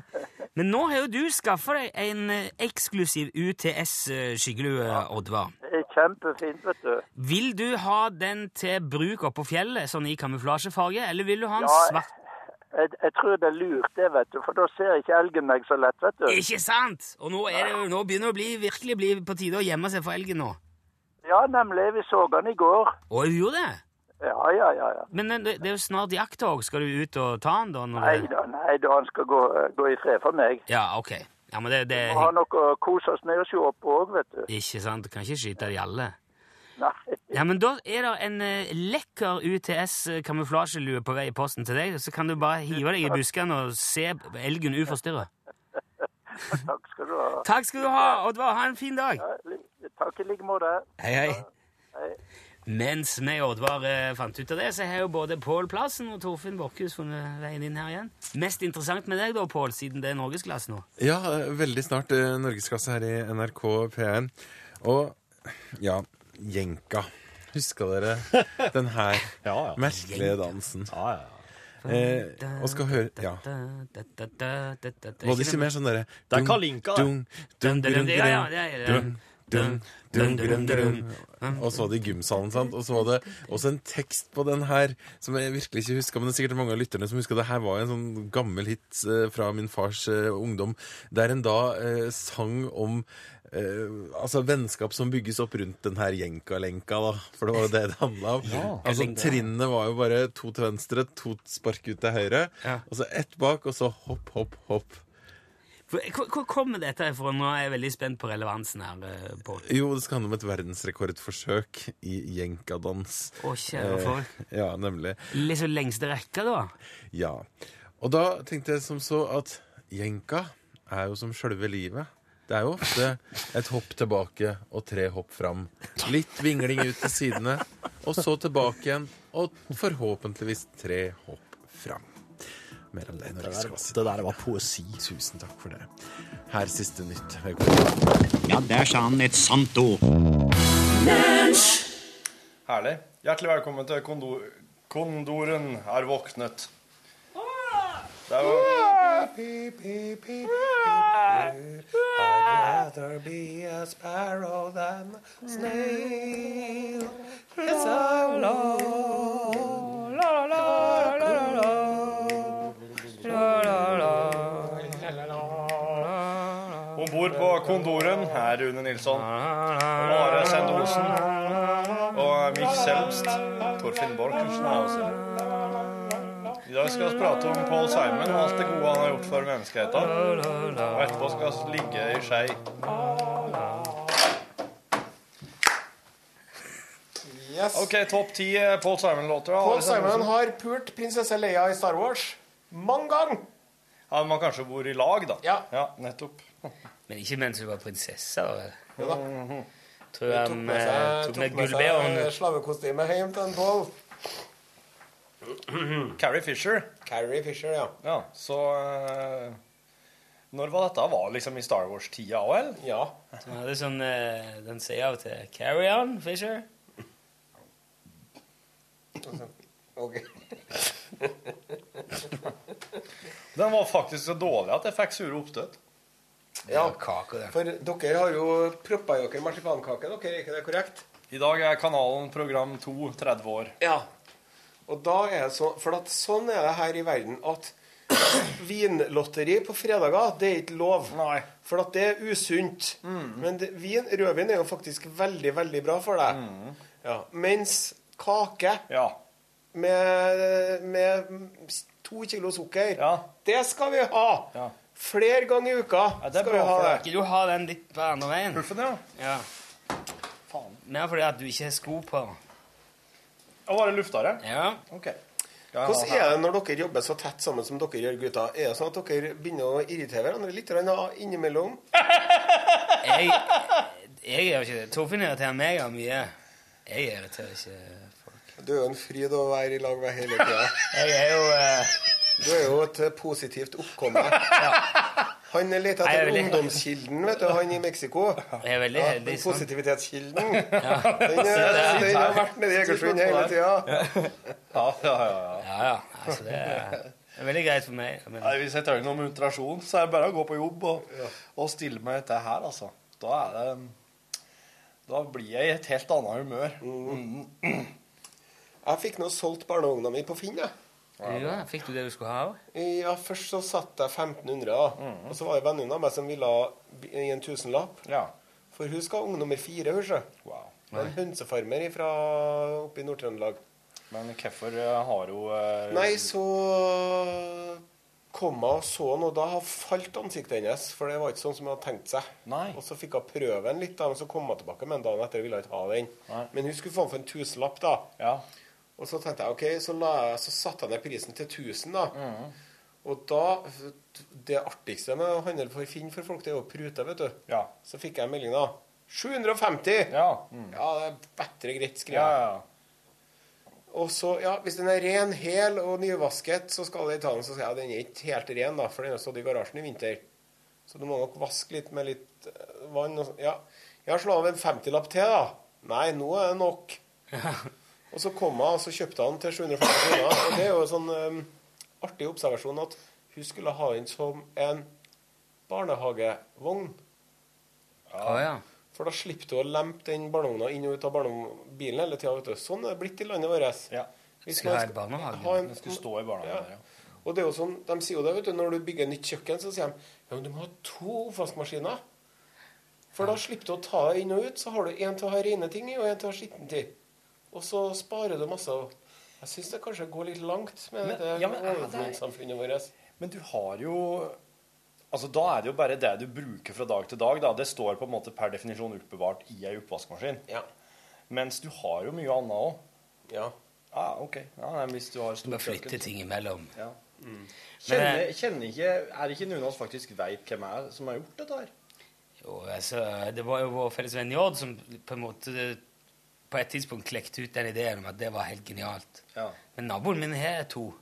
Men nå har jo du skaffa deg en eh, eksklusiv UTS-skyggelue, eh, Oddvar. Det er kjempefint, vet du. Vil du ha den til bruk oppå fjellet, sånn i kamuflasjefarge, eller vil du ha en Ja, svart Jeg, jeg tror det er lurt, det, vet du. For da ser ikke elgen meg så lett, vet du. Ikke sant? Og nå, er det, jo- nå begynner det å bli, virkelig bli på tide å gjemme seg for elgen nå. Ja, nemlig. Vi så den i går. Å, du gjorde det? Ja, ja, ja. ja. Men eh, det, det er jo snart jakt òg. Skal du ut og ta den, da? Når Nei det... da, nei da, han skal gå, gå i fred for meg. Ja, ok. Ja, men det, det Vi har noe å kose oss med å se på òg, vet du. Ikke sant? Du kan ikke skyte de alle. Nei. Ja, men da er det en eh, lekker UTS-kamuflasjelue eh, på vei i posten til deg, så kan du bare hive deg i buskene og se elgen uforstyrra. Takk skal du ha. Takk skal du ha, Oddvar. Ha en fin dag. Takk i like måte. Hei, hei. Mens vi og Oddvar eh, fant ut av det, så har jo både Pål Plassen og Torfinn Borchhus funnet veien inn her igjen. Mest interessant med deg da, Pål, siden det er norgesklasse nå. Ja, eh, veldig snart eh, norgesklasse her i NRK P1. Og ja, jenka. Huska dere den her Ja, ja. merkelige dansen? Ja, ja, ja. Eh, og skal høre Ja. Var det ikke mer sånn derre Det er Kalinka, det. Dung, Dun, dung, dun, dung, dun, ja, ja, dung, det er det. dung, dung, dung, dung, dung. Og så var det i gymsalen, sant? Og så var det også en tekst på den her som jeg virkelig ikke husker, men det er sikkert mange av lytterne som husker. Det her var en sånn gammel hit eh, fra min fars eh, ungdom, der en da eh, sang om eh, altså vennskap som bygges opp rundt den her jenka-lenka, da. For det var jo det det handla om. altså Jenka-lenka. trinnene var jo bare to til venstre, to spark ut til høyre, Ja. og så ett bak, og så hopp, hopp, hopp. Hvor hvor kommer dette ifra? Nå er jeg veldig spent på relevansen her, eh, Pål. Jo, det skal handle om et verdensrekordforsøk i jenkadans. Eh, Å, kjære folk. ja, nemlig. Liksom lengste rekka, da? Ja. Og da tenkte jeg som så at jenka er jo som sjølve livet. Det er jo ofte et hopp tilbake og tre hopp fram. Litt vingling ut til sidene, og så tilbake igjen, og forhåpentligvis tre hopp fram. Mer om det i Norgesklasse. Det der var poesi. Tusen takk for det. Her siste nytt. Velkommen. Ja, der sa han et sant ord. Herlig. Hjertelig velkommen til kondo Kondoren er våknet. Det er jo Om bord på Kondoren er Rune Nilsson, Are Send Osen og Mich Selbst. Torfinn Borchsen er også I dag skal vi prate om Paul Simon og alt det gode han har gjort for menneskeheten. Og etterpå skal vi ligge i skei. Yes. OK, topp ti eh, Paul Simon-låter. da. Paul Simon har pult prinsesse Leia i Star Wars mange ganger. Ja, Man kanskje bor i lag, da. Ja. ja nettopp. Men ikke mens du var prinsesse? da, vel? Jo da. Tror jeg han eh, tok med seg gullbehåen. slavekostyme hjem til en Paul. Carrie Fisher. Carrie Fisher, ja. Ja, så eh, Når var dette? Var det liksom i Star Wars-tida òg, eller? Ja. Han hadde sånn, eh, Den sier av og til 'Carry on, Fisher'. Ok. Den var faktisk så dårlig at jeg fikk sure oppstøt. Ja, Kake, det. For dere har jo proppa i dere marsipankake, dere, er ikke det korrekt? I dag er kanalen program 2 30 år. Ja. Og da er det sånn For at sånn er det her i verden at vinlotteri på fredager, det er ikke lov. Nei. For at det er usunt. Men det, vin, rødvin Mm. er jo faktisk veldig, veldig bra for deg. Ja. Mens kake Ja. med, med to kilo sukker. Det skal vi ha! Flere ganger i uka det er skal vi bra ha for det. deg. Ikke du ha den litt på andre veien? Puffen, ja. Faen. Mer fordi at du ikke har sko på. Og bare lufta det? Ja. Ok. Hvordan er det når dere jobber så tett sammen som dere gjør, gutta? Er det sånn at dere begynner å irritere hverandre litt grann innimellom? Jeg, jeg gjør ikke det. Torfinn irriterer meg av mye. Jeg irriterer ikke Du er jo en fryd å være i lag med hele tida. Jeg er jo eh, Du er jo et eh, positivt oppkomme. Han er litt Jeg etter er veldig- ungdomskilden, vet du, han i Mexico. Jeg er veldig heldig. sånn. den posivititetskilden. Ja. Den, er, den har vært nede i Egersund hele tida. Ja, ja, ja. ja, ja. Altså, det er, det er veldig greit for meg. Men Nei, Hvis jeg trenger noe muntrasjon, så er det bare å gå på jobb og, og stille meg dette her, altså. Da er det Da blir jeg i et helt annet humør. Mm. Jeg fikk nå solgt barnevogna mi på Finn, jeg. ja, fikk du det du skulle ha Mhm. òg? Ja, først så satte jeg 1500, da. Og så var det venninna mi som ville ha b- i en tusenlapp. Ja. For hun skal ha ung nummer fire, hun, sjø. Wow. Hun er En hønsefarmer fra oppe i Nord-Trøndelag. Men hvorfor eh, har hun eh, Nei, så kom jeg og så han, og da har falt ansiktet hennes. For det var ikke sånn som hun hadde tenkt seg. Nei. Og så fikk hun prøve den litt, da, men så kom hun tilbake med en dag etter og ville ikke ha den. Nei. Men hun skulle få den for en tusenlapp, da. Ja. Og så tenkte jeg, ok, så, la jeg, så satte jeg ned prisen til 1000 da. Mm. Og da, det artigste med å handle for Finn for folk, det er jo å prute, vet du. Ja. Så fikk jeg en melding da. 750! Ja. Mm. Ja, det er bedre greit, skriver ja, jeg. ja, ja. Og så, ja, hvis den er ren, hel og nyvasket, så skal jeg ta den, så skal jeg, den er ikke helt ren da, for den har stått i garasjen i vinter. Så du må nok vaske litt med litt eh, vann og sånn. Ja, jeg har slått av en 50-lapp til da. Nei, nå er det nok. Og så kom jeg, og så kjøpte han til 750 kroner. Og det er jo en sånn eh, artig observasjon at hun skulle ha den som en barnehagevogn. Å ja. For da slipper du å lempe den barnevogna inn og ut av barne- bilen hele tida. vet du. Sånn er det blitt i landet vårt. Ja. Hvis Skal man ha i barnehagen. ha en- Hun skulle stå i barnehagen. Ja. Og det er jo sånn, De sier jo det, vet du. Når du bygger nytt kjøkken, så sier de ja, men du må ha to oppvaskmaskiner. For da slipper du å ta det inn og ut. Så har du én til å ha rene ting i, og én til å ha skitten til. Og så sparer du masse. og Jeg syns det kanskje går litt langt med Men- det ja, men er det- overflodssamfunnet vårt. Men du har jo Altså, Da er det jo bare det du bruker fra dag til dag. da. Det står på en måte per definisjon oppbevart i ei oppvaskmaskin. Ja. Mens du har jo mye annet òg. ja. Ja, ok. Ja, nei, hvis du har Du må stort kjøkken, flytte ting imellom. Ja. Men, eh, Kjenner, kjenner ikke, er det ikke noen av oss faktisk veit hvem er som har gjort dette her? Jo, altså, det var jo vår felles venn Jord som på en måte på et tidspunkt klekte ut den ideen om at det var helt genialt. Ja. Men naboen min her er to.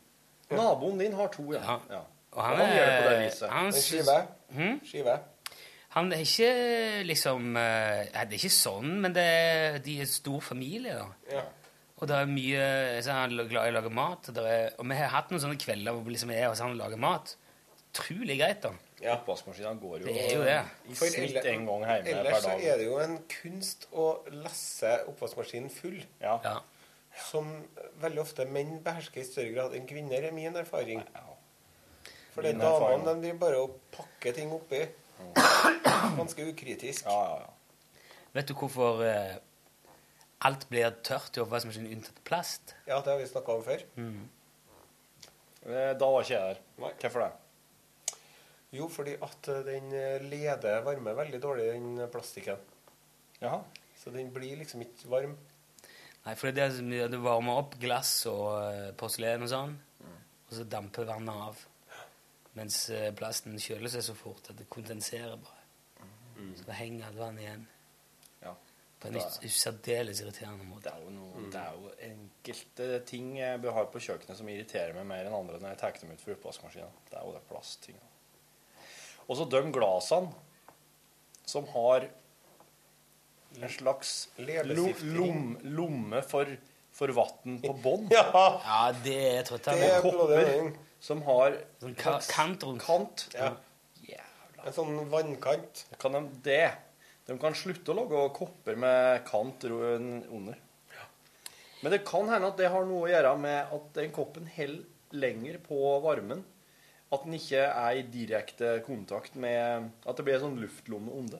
Naboen din har to, ja. Ja. ja. Og han, gjør det på det er- viset. Han, En s- skive. Hm? Skive. han er ikke liksom eh, nei, Det er ikke sånn, men det er, de er en stor familie. da. Ja. Og det er mye, så er han glad i å lage mat. Og, det er, og vi har hatt noen sånne kvelder hvor vi liksom er hos han og lager mat. Utrolig greit, da. Ja. Oppvaskmaskinen går jo, Det er jo det. i For snitt elle- en gang hjemme Ellers per så dag. er det jo en kunst å lesse oppvaskmaskinen full, Ja. Ja. som veldig ofte menn behersker i større grad enn kvinner, er min erfaring. For det er Min erfaring. Mm. damene de driver bare og pakker ting oppi. Ganske ukritisk. Ja, ja, ja. Vet du hvorfor eh, alt blir tørt i oppvaskmaskinen unntatt plast? Ja, det har vi snakka om før. Mm. Eh, Da var ikke jeg der. Nei. Hvorfor det? Jo, fordi at eh, den eh, leder varme veldig dårlig, den eh, plastikken. Jaha. Så den blir liksom ikke varm. Nei, for det er det som gjør det varmer opp glass og eh, porselen og sånn, Mm. og så damper vannet av. Mens eh, plasten kjøler seg så fort at det kondenserer bare. Mm. Så henger alt vannet igjen. Ja. På en us- usærdeles irriterende Det måte. er, jo noe, det er jo enkelte ting jeg bør ha på kjøkkenet som irriterer meg mer enn andre når jeg tar dem ut for oppvaskmaskinen. Det er jo det plasttinga. Og så de glasene som har en slags lo- Leppestift. lom, lomme for, for vann på bånn. Ja! Ja, det er Det trøttende. er blodig kopper. mening. Som har Sånn ka kant rundt. kant. Ja. Jævla. En sånn vannkant. Kan de det? De kan slutte å lage kopper med kant ro- under. Men det kan hende at det har noe å gjøre med at den koppen holder lenger på varmen. At den ikke er i direkte kontakt med At det blir en sånn luftlomme under.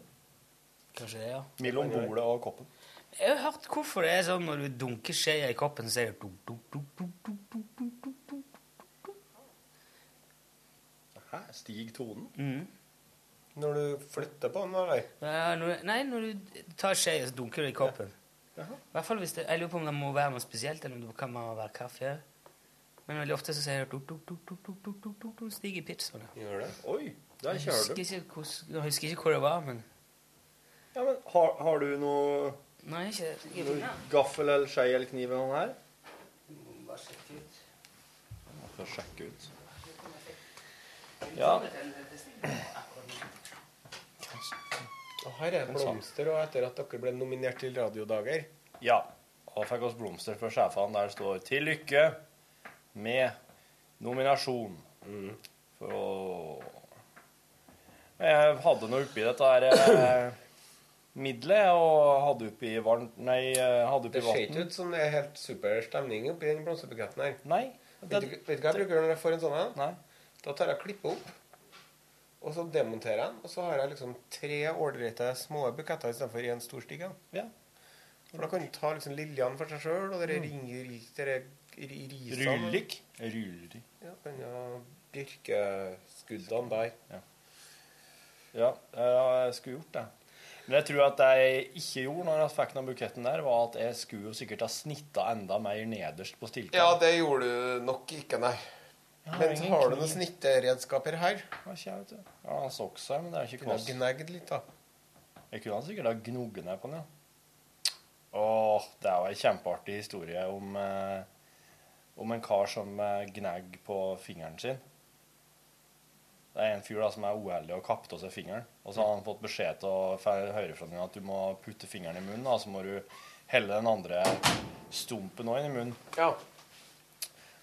Kanskje det, ja. Mellom bordet og koppen. Jeg har hørt hvorfor det er sånn når du dunker skjea i koppen, så er det dunk, dunk, dunk, dunk. Hæ? Stig tonen? Når du flytter på den, eller? Ja, Eh, når, Nei, når du tar skjea, så dunker du i koppen. I hvert fall hvis det, Jeg lurer på om det må være noe spesielt, eller om det kan bare være kaffe. Men veldig ofte så sier jeg dunk, dunk, dunk, dunk, dunk, dunk, dunk, dunk, dunk, Stig i pitchen. Gjør det? Oi, der Jeg kjører husker, du. ikke hvordan, jeg husker ikke hvor det var, men Ja, men har, har du noe, Nei, ikke, ikke noe gaffel eller skei eller kniv eller noe her? Bare sjekk ut. Jeg får sjekke ut. Ja. Og her er sånn. blomster, og etter at dere ble nominert til radiodager. Ja. Og fikk oss blomster fra sjefene der det står 'Til lykke med nominasjon'. Mm. For å Jeg hadde noe oppi dette her eh, middelet, og hadde oppi varmt Nei, eh, hadde oppi Det ser ikke vann. ut som det er helt super stemning oppi den blomsterbuketten her. Nei. Vet du vet du hva jeg bruker når jeg får en sånn en? Da tar jeg og klipper opp, og så demonterer jeg den. Og så har jeg liksom tre ålreite små buketter istedenfor én stor stige. Ja. For da kan du ta liksom liljene for seg sjøl, og Mm. det ringer Rullik. Rullik. Ja, den ja, bjørkeskuddene der. Ja, jeg skulle gjort det. Men jeg tror at jeg ikke gjorde når jeg fikk den buketten der, var at jeg skulle jo sikkert ha snitta enda mer nederst på stilken. Ja, det gjorde du nok ikke, nei. Ja, Men ingen har du kniv. noen snitteredskaper her? Hva skjer, vet du? Ja, han sokk seg, men det er ikke Kunne ha kvass. gnagd litt, da. Jeg kunne ha sikkert ha gnogget ned på den, ja. Åh, det er jo en kjempeartig historie om, eh, om en kar som eh, gnegg på fingeren sin. Det er en fyr da som er uheldig og kappet av seg fingeren. Og så har han fått beskjed til å fra høyrefronten at du må putte fingeren i munnen, da, så må du helle den andre stumpen også inn i munnen. Ja.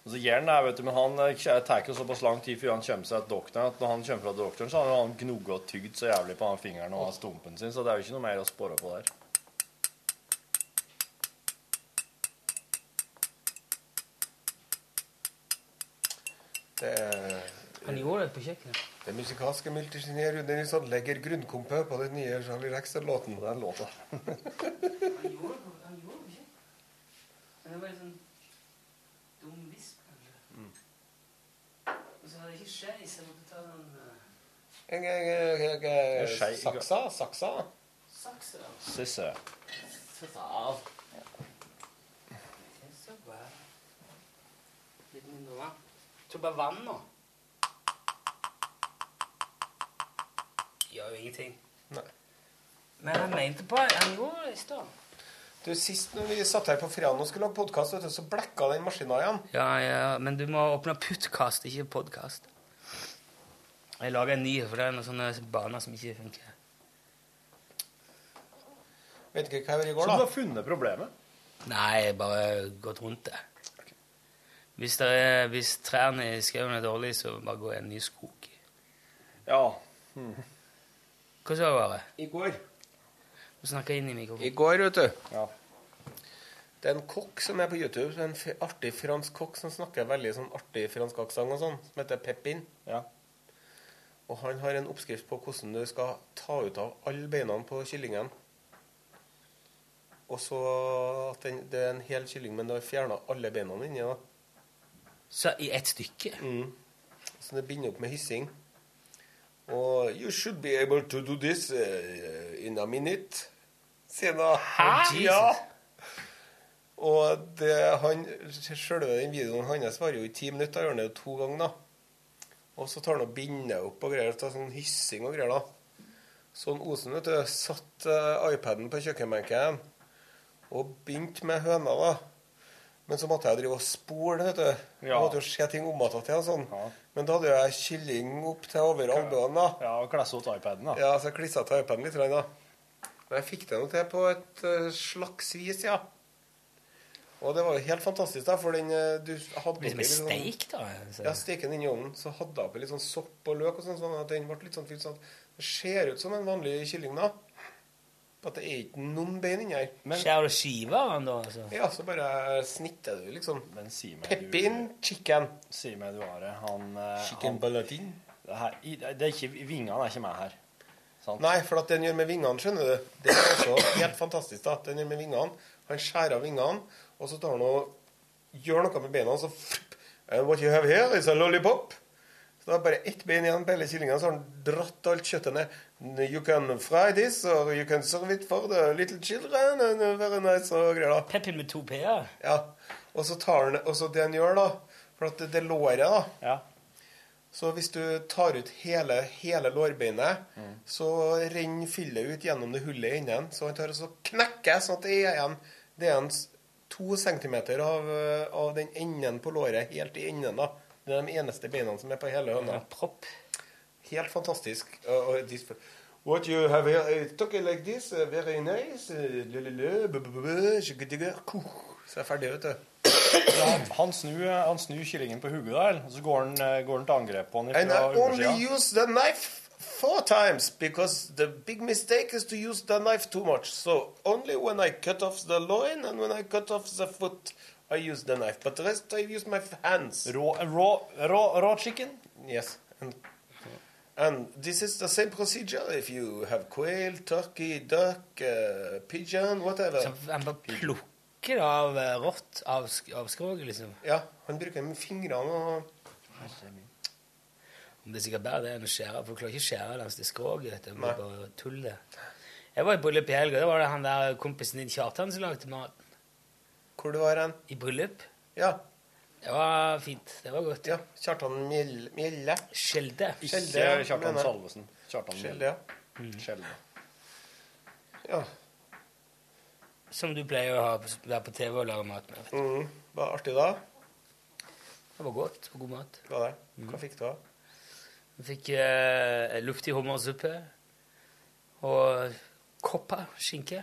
Og så gjør han det, vet du, men han eh, kjø- tar jo såpass lang tid før han kommer seg til doktoren, at når han kommer fra doktoren, så har han gnogget og tygd så jævlig på den fingeren og stumpen sin, så det er jo ikke noe mer å spore på der. Det er, Han gjorde det på kjøkkenet. det er musikalske multigenier Rune Nilsson legger grunnkompet på den nye Charlie Rexer-låten. Den låta. Men det var litt sånn dum visp, kanskje. Og så hadde jeg ikke skje, så jeg måtte ta den eh, skei- Saksa? Saksa? saksa. Sisse. Sissa av. Det er så bra. Litt mindre vann. Tror bare vann nå. Gjør jo ingenting. Nei. Men han mente på det. Han gjorde det i stad. Du, Sist når vi satt her på fredag og skulle lage podkast, så blekka den maskina igjen. Ja, ja, men du må åpne puttkast, ikke podkast. Jeg lager en ny, for det er noen sånne baner som ikke funker. Vet ikke hva jeg gjorde i Så går, du da. har funnet problemet? Nei, jeg har bare gått rundt det. Hvis, det er, hvis trærne i skauen er dårlige, så bare gå i en ny skog. Ja. Hva sa du, Are? I går Du snakker inn i mikrofonen. I går, vet du. Ja. Det er en kokk som er på YouTube, som er en f- artig fransk kokk som snakker veldig sånn artig fransk aksent og sånn, som heter Pepin. Ja. Og han har en oppskrift på hvordan du skal ta ut av alle beina på kyllingen. Og så at den, det er en hel kylling, men du har fjerna alle beina inni. da. Så i ett stykke? Mm. Så det binder opp med hyssing. Og You should be able to do this eh, in a minute. Sier han da. Hæ? Ja. Og det, han, selve den videoen hans varer jo i ti minutter. Da gjør han det jo to ganger, da. Og så tar han og binder opp og greier. Tar sånn hyssing og greier, da. Sånn Osen, vet du, satt eh, iPaden på kjøkkenbenken og begynte med høna, da. Men så måtte jeg drive og spole, vet du. Ja. Jeg måtte jo se ting om igjen til og sånn. Ja. Men da hadde jeg kylling opp til over albuen, da. ja og klasse ut iPaden, da. Ja, så jeg klissa til iPaden litt, da. Men jeg fikk det nå til på et eh, slags vis, ja. Og det var jo helt fantastisk, da, for den eh, du hadde Liksom en oppi litt sånn- steik, da? altså. Ja, Så. steken inn i ovnen, så hadde jeg oppi litt sånn sopp og løk og sånn, sånn at den ble litt sånn fylt sånn at Det ser ut som en vanlig kylling, da. Bare At det er ikke noen bein inni her. Skjærer du skiver av den, da? altså? Ja, så bare snitter du, liksom. Men si meg du, Pepin chicken. si meg du Are, han, eh, Chicken han baladin. det, her, i- det er ikke, Vingene er ikke med her. Nei, for at den gjør med vingene, skjønner du. Det er også helt fantastisk. da. Den gjør med vingene. Han skjærer av vingene, og så tar han og gjør noe med beina, og så flipp. And what you have here is a lollipop. Så da er det bare ett bein igjen på hele killingen, så har han dratt alt kjøttet ned. You can fry this, or you can serve it for the little children, and very nice og greier da. Peppin med to p-er. Ja. Og så tar han, og så det han gjør da, for at det, det låret da, så hvis du tar ut hele, hele lårbeinet, så renner fyllet ut gjennom det hullet innen, så han tar og så knekker, sånn at det er en, det er en s- to centimeter av, eh, av den enden på låret, helt i enden da. Det er de eneste beina som er på hele høna. propp. Helt fantastisk. Og- og dis- What you have here, eh, took it like this, eh, very nice, eh, lelele, bu- bu- bu- bu, shukutiga, kuh. Så er jeg ferdig, vet du. Han, han, snur, eh, han snur kyllingen på hodet der, og så går han, eh, går han til angrep på den And fra I only undersida. use the knife four times because the big mistake is to use the knife too much. So only when I cut off the loin and when I cut off the foot, I use the knife. But the rest I use my hands. Raw, raw, raw, raw chicken? Yes. And, and this is the same procedure if you have quail, turkey, duck, uh, pigeon, whatever. Så han bare plukker det av eh, rått av, sk- av skroget, liksom. Ja, han bruker med fingrene og Om det er sikkert bedre det enn å skjære, for du klarer ikke å skjære langs det skroget. vet du. Det Nei. blir bare tull, det. Jeg var i bryllup i helga. Da var det han der kompisen din Kjartan som lagde mat. Hvor det var hen? I bryllup. Ja. Det var fint. Det var godt. Ja, Kjartan Mjell- Mjelle. Skjelde. Ikke Ikke Kjartan mener jeg. Salvesen. Kjartan Skjelde, ja. Skjelde. ja. Som du pleier å ha, på- være på TV og lage mat med. vet du. Mm. Var det artig da? Det var godt. og God mat. Var det? Hva fikk du da? Vi fikk eh, luftig hummersuppe og koppa skinke.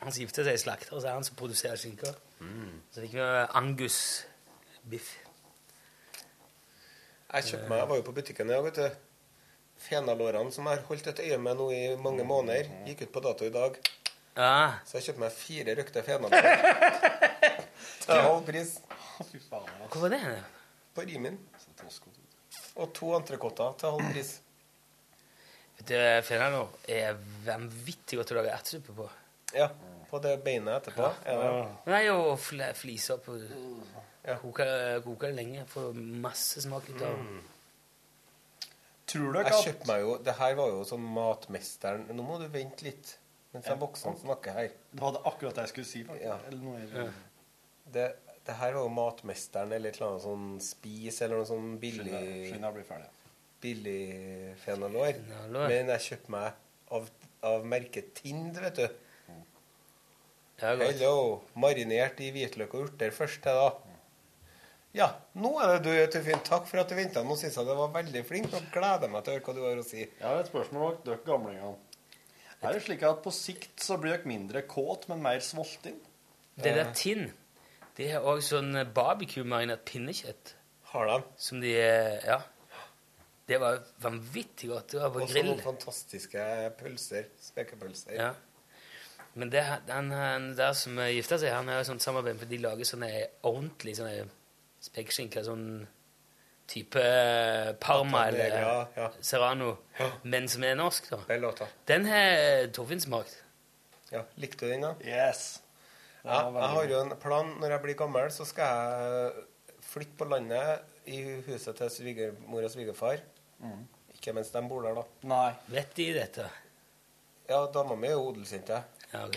Han som gifter seg i slakter, så er han som produserer skinker. Så fikk vi Angus-biff. Jeg kjøpte meg, jeg var jo på butikken i dag, vet du. Fenalårene som jeg har holdt et øye med nå i mange måneder, gikk ut på dato i dag. Ja, Så jeg kjøpte meg fire røkte fenalår. Til halv pris. hvor var det? På Rimin. Og to entrecôter til halv pris. Vet du, Fenalo er vanvittig godt å lage ertesuppe på. Ja. På det beinet etterpå. Er det. Men det er jo fl fliser på Koker koker det lenge, får masse smak ut av Mm. det. Tror dere Jeg at kjøpte meg jo Det her var jo sånn Matmesteren Nå må du vente litt mens de voksne snakker her. Det var det akkurat det jeg skulle si, faktisk. Ja. Eller noe i den- Det, det her var jo Matmesteren eller et eller annet sånn Spis eller noe sånn billig Skynd deg å bli ferdig. billig fenalår. Fenalår. Men jeg kjøpte meg av, av merket Tind, vet du. Det er godt. Hello. Marinert i hvitløk og urter først, det, da. Ja, nå er det du, Tøffin. Takk for at du venta. Nå syns jeg det var veldig flink. Nå gleder jeg meg til å høre hva du har å si. Jeg har et spørsmål til dere gamlingene. Er det slik at på sikt så blir dere mindre kåt, men mer sultne? Det der tinn, det er òg sånn barbecue-marinert pinnekjøtt. Har de? Som de eh, Ja. Det var vanvittig godt. Det var på Og så grill. noen fantastiske pølser. Spekepølser. Ja. Men det, den, han der som eh, gifta seg, han har jo sånt samarbeid, for de lager sånne ordentlig sånne spekeskinker, sånn type eh, parma Tartare, eller ja, ja. serrano, Ja. men som er norsk, da. Den låta. Den har Torfinn smakt. Ja. Likte du den, da? Yes. Ja, jeg har jo en plan. Når jeg blir gammel, så skal jeg flytte på landet i huset til svigermor og svigerfar. Mm. Ikke mens de bor der, da. Nei. Vet de dette? Ja, dama mi er jo odelsjente. Ja, ok.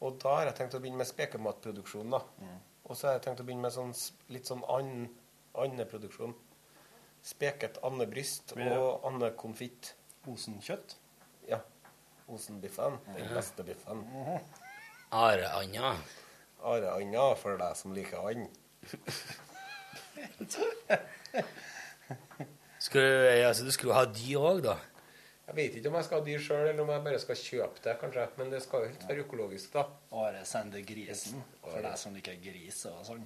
Og da har jeg tenkt å begynne med spekematproduksjon. da. Mm. Og så har jeg tenkt å begynne med sånn, s- litt sånn and, andeproduksjon. Speket andebryst Blir det- og andekonfitt. Osenkjøtt. Ja. Osenbiffen. Den beste biffen. Mm-hmm. Are Anja. Areanda for deg som liker and. Skulle, ja, så du skulle ha dyr òg, da? Jeg vet ikke om jeg skal ha dyr sjøl, eller om jeg bare skal kjøpe det, kanskje. Men det skal jo helt være økologisk, da. Are sender grisen. For deg som liker gris og sånn.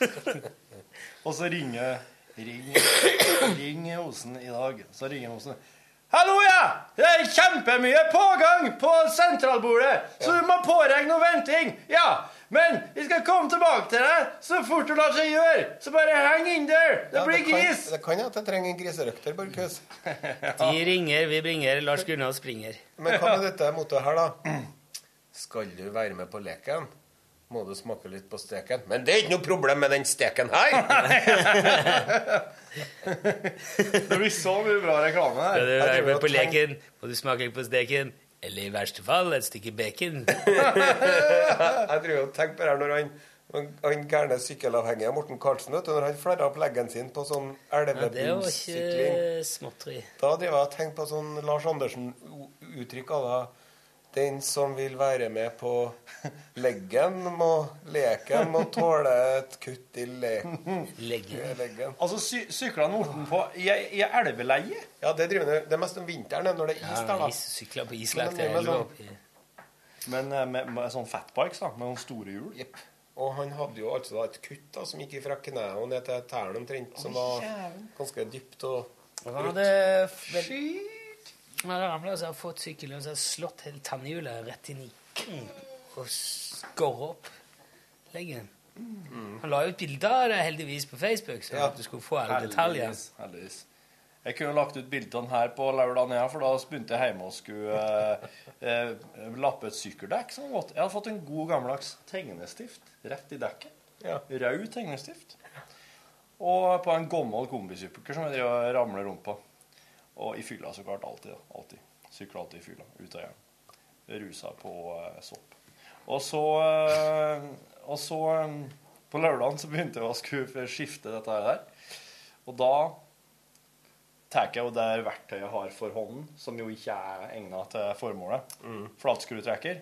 og så ringer Ring, ring Osen i dag. Så ringer Osen. Hallo, ja! Det er kjempemye pågang på sentralbordet, så du må påregne noe venting. Ja, Men vi skal komme tilbake til deg så fort det lar seg gjøre. Så bare heng inn der. Det blir gris. Det kan hende at jeg trenger en griserøkter, Borchhus. De ringer, vi bringer, Lars Gunnar springer. Men hva med dette mottoet her, da? Skal du være med på leken, må du smake litt på steken. Men det er ikke noe problem med den steken her! Det blir så mye bra reklame Skal her. du være med på leken, må du smake på steken, eller i verste fall et stykke bacon. Jeg driver og tenker på det her når han han gærne sykkelavhengige Morten Karlsen, vet du, når han flerra opp leggen sin på sånn Ja, det var elvebunnssykling ikke småtteri. Da driver jeg og tenker på sånn Lars Andersen-uttrykk à la Den som vil være med på leggen, må leken må tåle et kutt i leken. leggen. Altså, sy sykla Morten på i, i elveleie? Ja, det driver han Det er mest om vinteren når det er is der, da. Sykla på Men islagt. det er med sånn- Men eh, med, med sånn fatbikes, da. Med noen store hjul. Jepp. Og han hadde jo altså da et kutt da, som gikk fra kneet og ned til tærne omtrent, som var ganske dypt og Han brutt. hadde Skyt! Han hadde ramla og så hadde fått sykkelen og så hadde slått hele tannhjulet rett inn i og skåret opp leggen. Han la ut bilde av det heldigvis på Facebook, så at du skulle få alle detaljer. Heldigvis, heldigvis. Jeg kunne lagt ut bildene her på lørdagen, ja, for da begynte jeg hjemme og skulle eh, eh, lappe et sykkeldekk. Som var vått. jeg hadde fått en god gammeldags tegnestift rett i dekket. Rød tegnestift. Og på en gammel kombisykkel som jeg drev og ramlet rundt på. Og i fylla, så klart. Alltid. da. Alltid. Sykla alltid i fylla. Ut av hjem. Rusa på eh, sopp. Og så, eh, og så eh, På lørdagen så begynte jeg å skulle skifte dette her der. Og da tar jeg jo det verktøyet jeg har for hånden, som jo ikke er egna til formålet. Flatskrutrekker.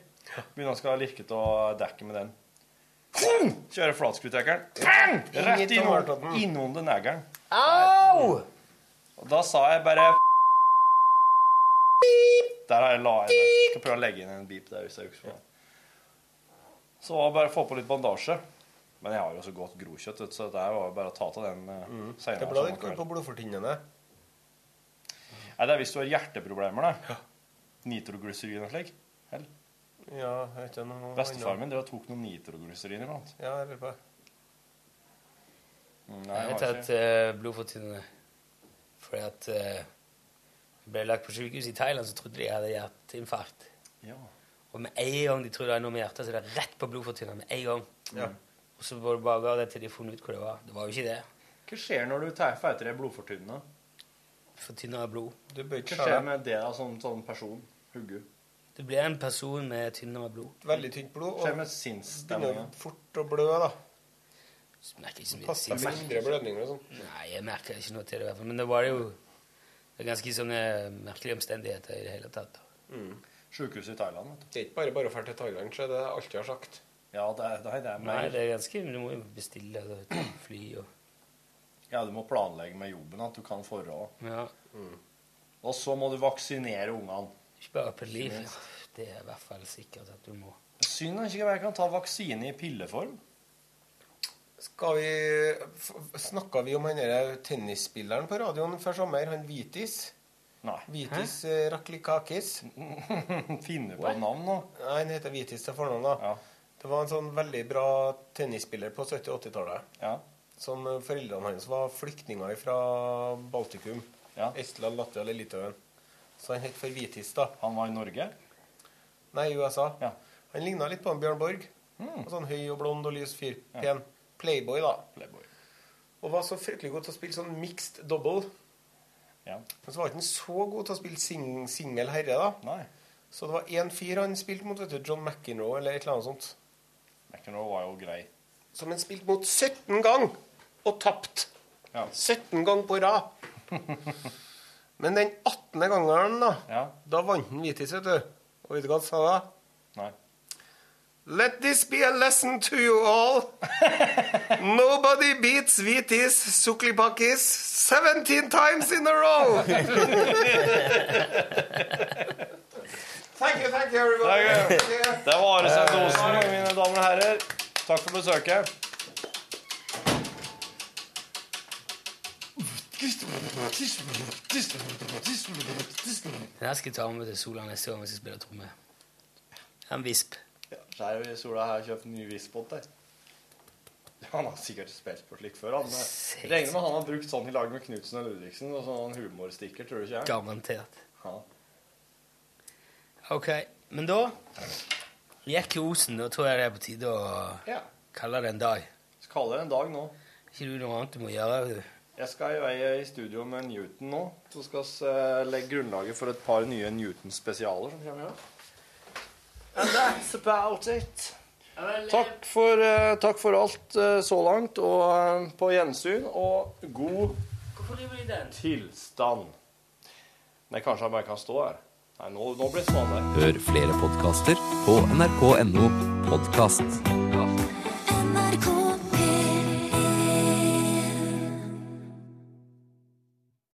Begynner å skal lirke av dekket med den. Pum! Kjører flatskrutrekkeren. Pang! Ingen Rett til innom, overtoppen. innom den negeren. Au! Og da sa jeg bare Der har jeg la inn Jeg skal prøve å legge inn en beep der hvis jeg husker på det. Så var det bare å få på litt bandasje. Men jeg har jo så godt grokjøtt, vet du, så det her var jo bare å ta til den eh, Det senere. ble samme litt kort kveld. på blodfortynnende. Nei, det er hvis du har hjerteproblemer, da. Nitroglyserin og slik. Hell. Ja, jeg vet ikke noe Bestefaren min drev og tok noe nitroglyserin iblant. Ja, jeg lurer på det. Mm, Jeg jeg vet har at ikke. eh, blodfortynnende Fordi at eh, jeg ble lagt på sykehus i Thailand, så trodde de jeg hadde hjerteinfarkt. Ja. Og med en gang de trodde det var noe med hjertet, så er det rett på blodfortynnende. Med en gang. Ja. Og så var det bare ga det til de funnet ut hvor det var. Det var jo ikke det. Hva skjer når du tar får etter deg blodfortynnende? Fortynna blod. Du bør Hva ikke skjære skjer med det da, som sånn person? Huggu. Du blir en person med tynnere blod. veldig tynt blod, Hva skjer og med begynner sinnsstemninga? fort å blø, da. Så merker jeg ikke så mye. Passer med sinnsmerker. indre blødninger og sånn. Nei, jeg merker ikke noe til det i hvert fall. Men det var jo det er ganske sånne merkelige omstendigheter i det hele tatt. da. Sjukehuset i Thailand, vet du. Det er ikke bare bare å dra til Thailand, så det er alt jeg har sagt. Ja, det er, nei, det er Nei, mer. det er ganske, Du må jo bestille altså, fly og Ja, du må planlegge med jobben at du kan forholde. ja. Mm. Og så må du vaksinere ungene. Ikke bare på liv. Det er i hvert fall sikkert at du må. Synd at ikke jeg kan ta vaksine i pilleform. Skal vi f- Snakka vi om han derre tennisspilleren på radioen før sommer, han Vitis? Nei. Vitis eh, Raklikakis? Finne på et navn nå. Nei, han heter Vitis til fornavn, da. Ja. Det var en sånn veldig bra tennisspiller på 70-80-tallet. Ja. Som eh, Foreldrene hans var flyktninger fra Baltikum. Ja. Estland, Latvia eller Litauen. Så han het for Vitis, da. Han var i Norge. Nei, i USA. Ja. Hmm. Han ligna litt på en Bjørn Borg. Og Sånn høy og blond og lys fyr. Pen. Playboy, da. Playboy. Og var så fryktelig god til å spille sånn mixed double. Ja. Men så var ikke han så god til å spille sing singel herre, da. Nei. Så det var én fyr han spilte mot, vet du. John McEnroe eller et eller annet sånt. McEnroe var jo grei. Som han spilte mot 17 ganger og tapt. Ja. 17 ganger på rad. Men den 18. gangen, da, Ja. da vant han Vitis, vet du. Og vet du hva han sa da? Nei. Let this be a lesson to you all. Nobody beats Vitis Suklipakis 17 times in a row. thank you, thank you, everybody. Thank Det var Are Send Osen, mine damer og herrer. Takk for besøket. Den her skal jeg ta med til Sola neste gang hvis jeg spiller tromme. En visp. Skjerv i sola her og kjøpt ny Wispot der. Han har sikkert spilt på slik før. Han Sikkert. Jeg regner med han har brukt sånn i lag med Knutsen og Ludvigsen. Og sånn humorstikker, tror du ikke? Garantert. Ja. Ok, men da gikk osen. Da tror jeg det er på tide å Ja. kalle det en dag. Så kaller det en dag nå. Ikke du noe annet du må gjøre? vet du. Jeg skal i vei i studio med Newton nå. Så skal vi eh, legge grunnlaget for et par nye Newton-spesialer som kommer i år. And that's about it. Takk for, eh, takk for alt eh, så langt, og eh, på gjensyn, og god Hvorfor driver de den? tilstand. Nei, kanskje jeg bare kan stå her. sånn Nei, nå, nå blir det stående. Hør flere podkaster på nrk.no podkast.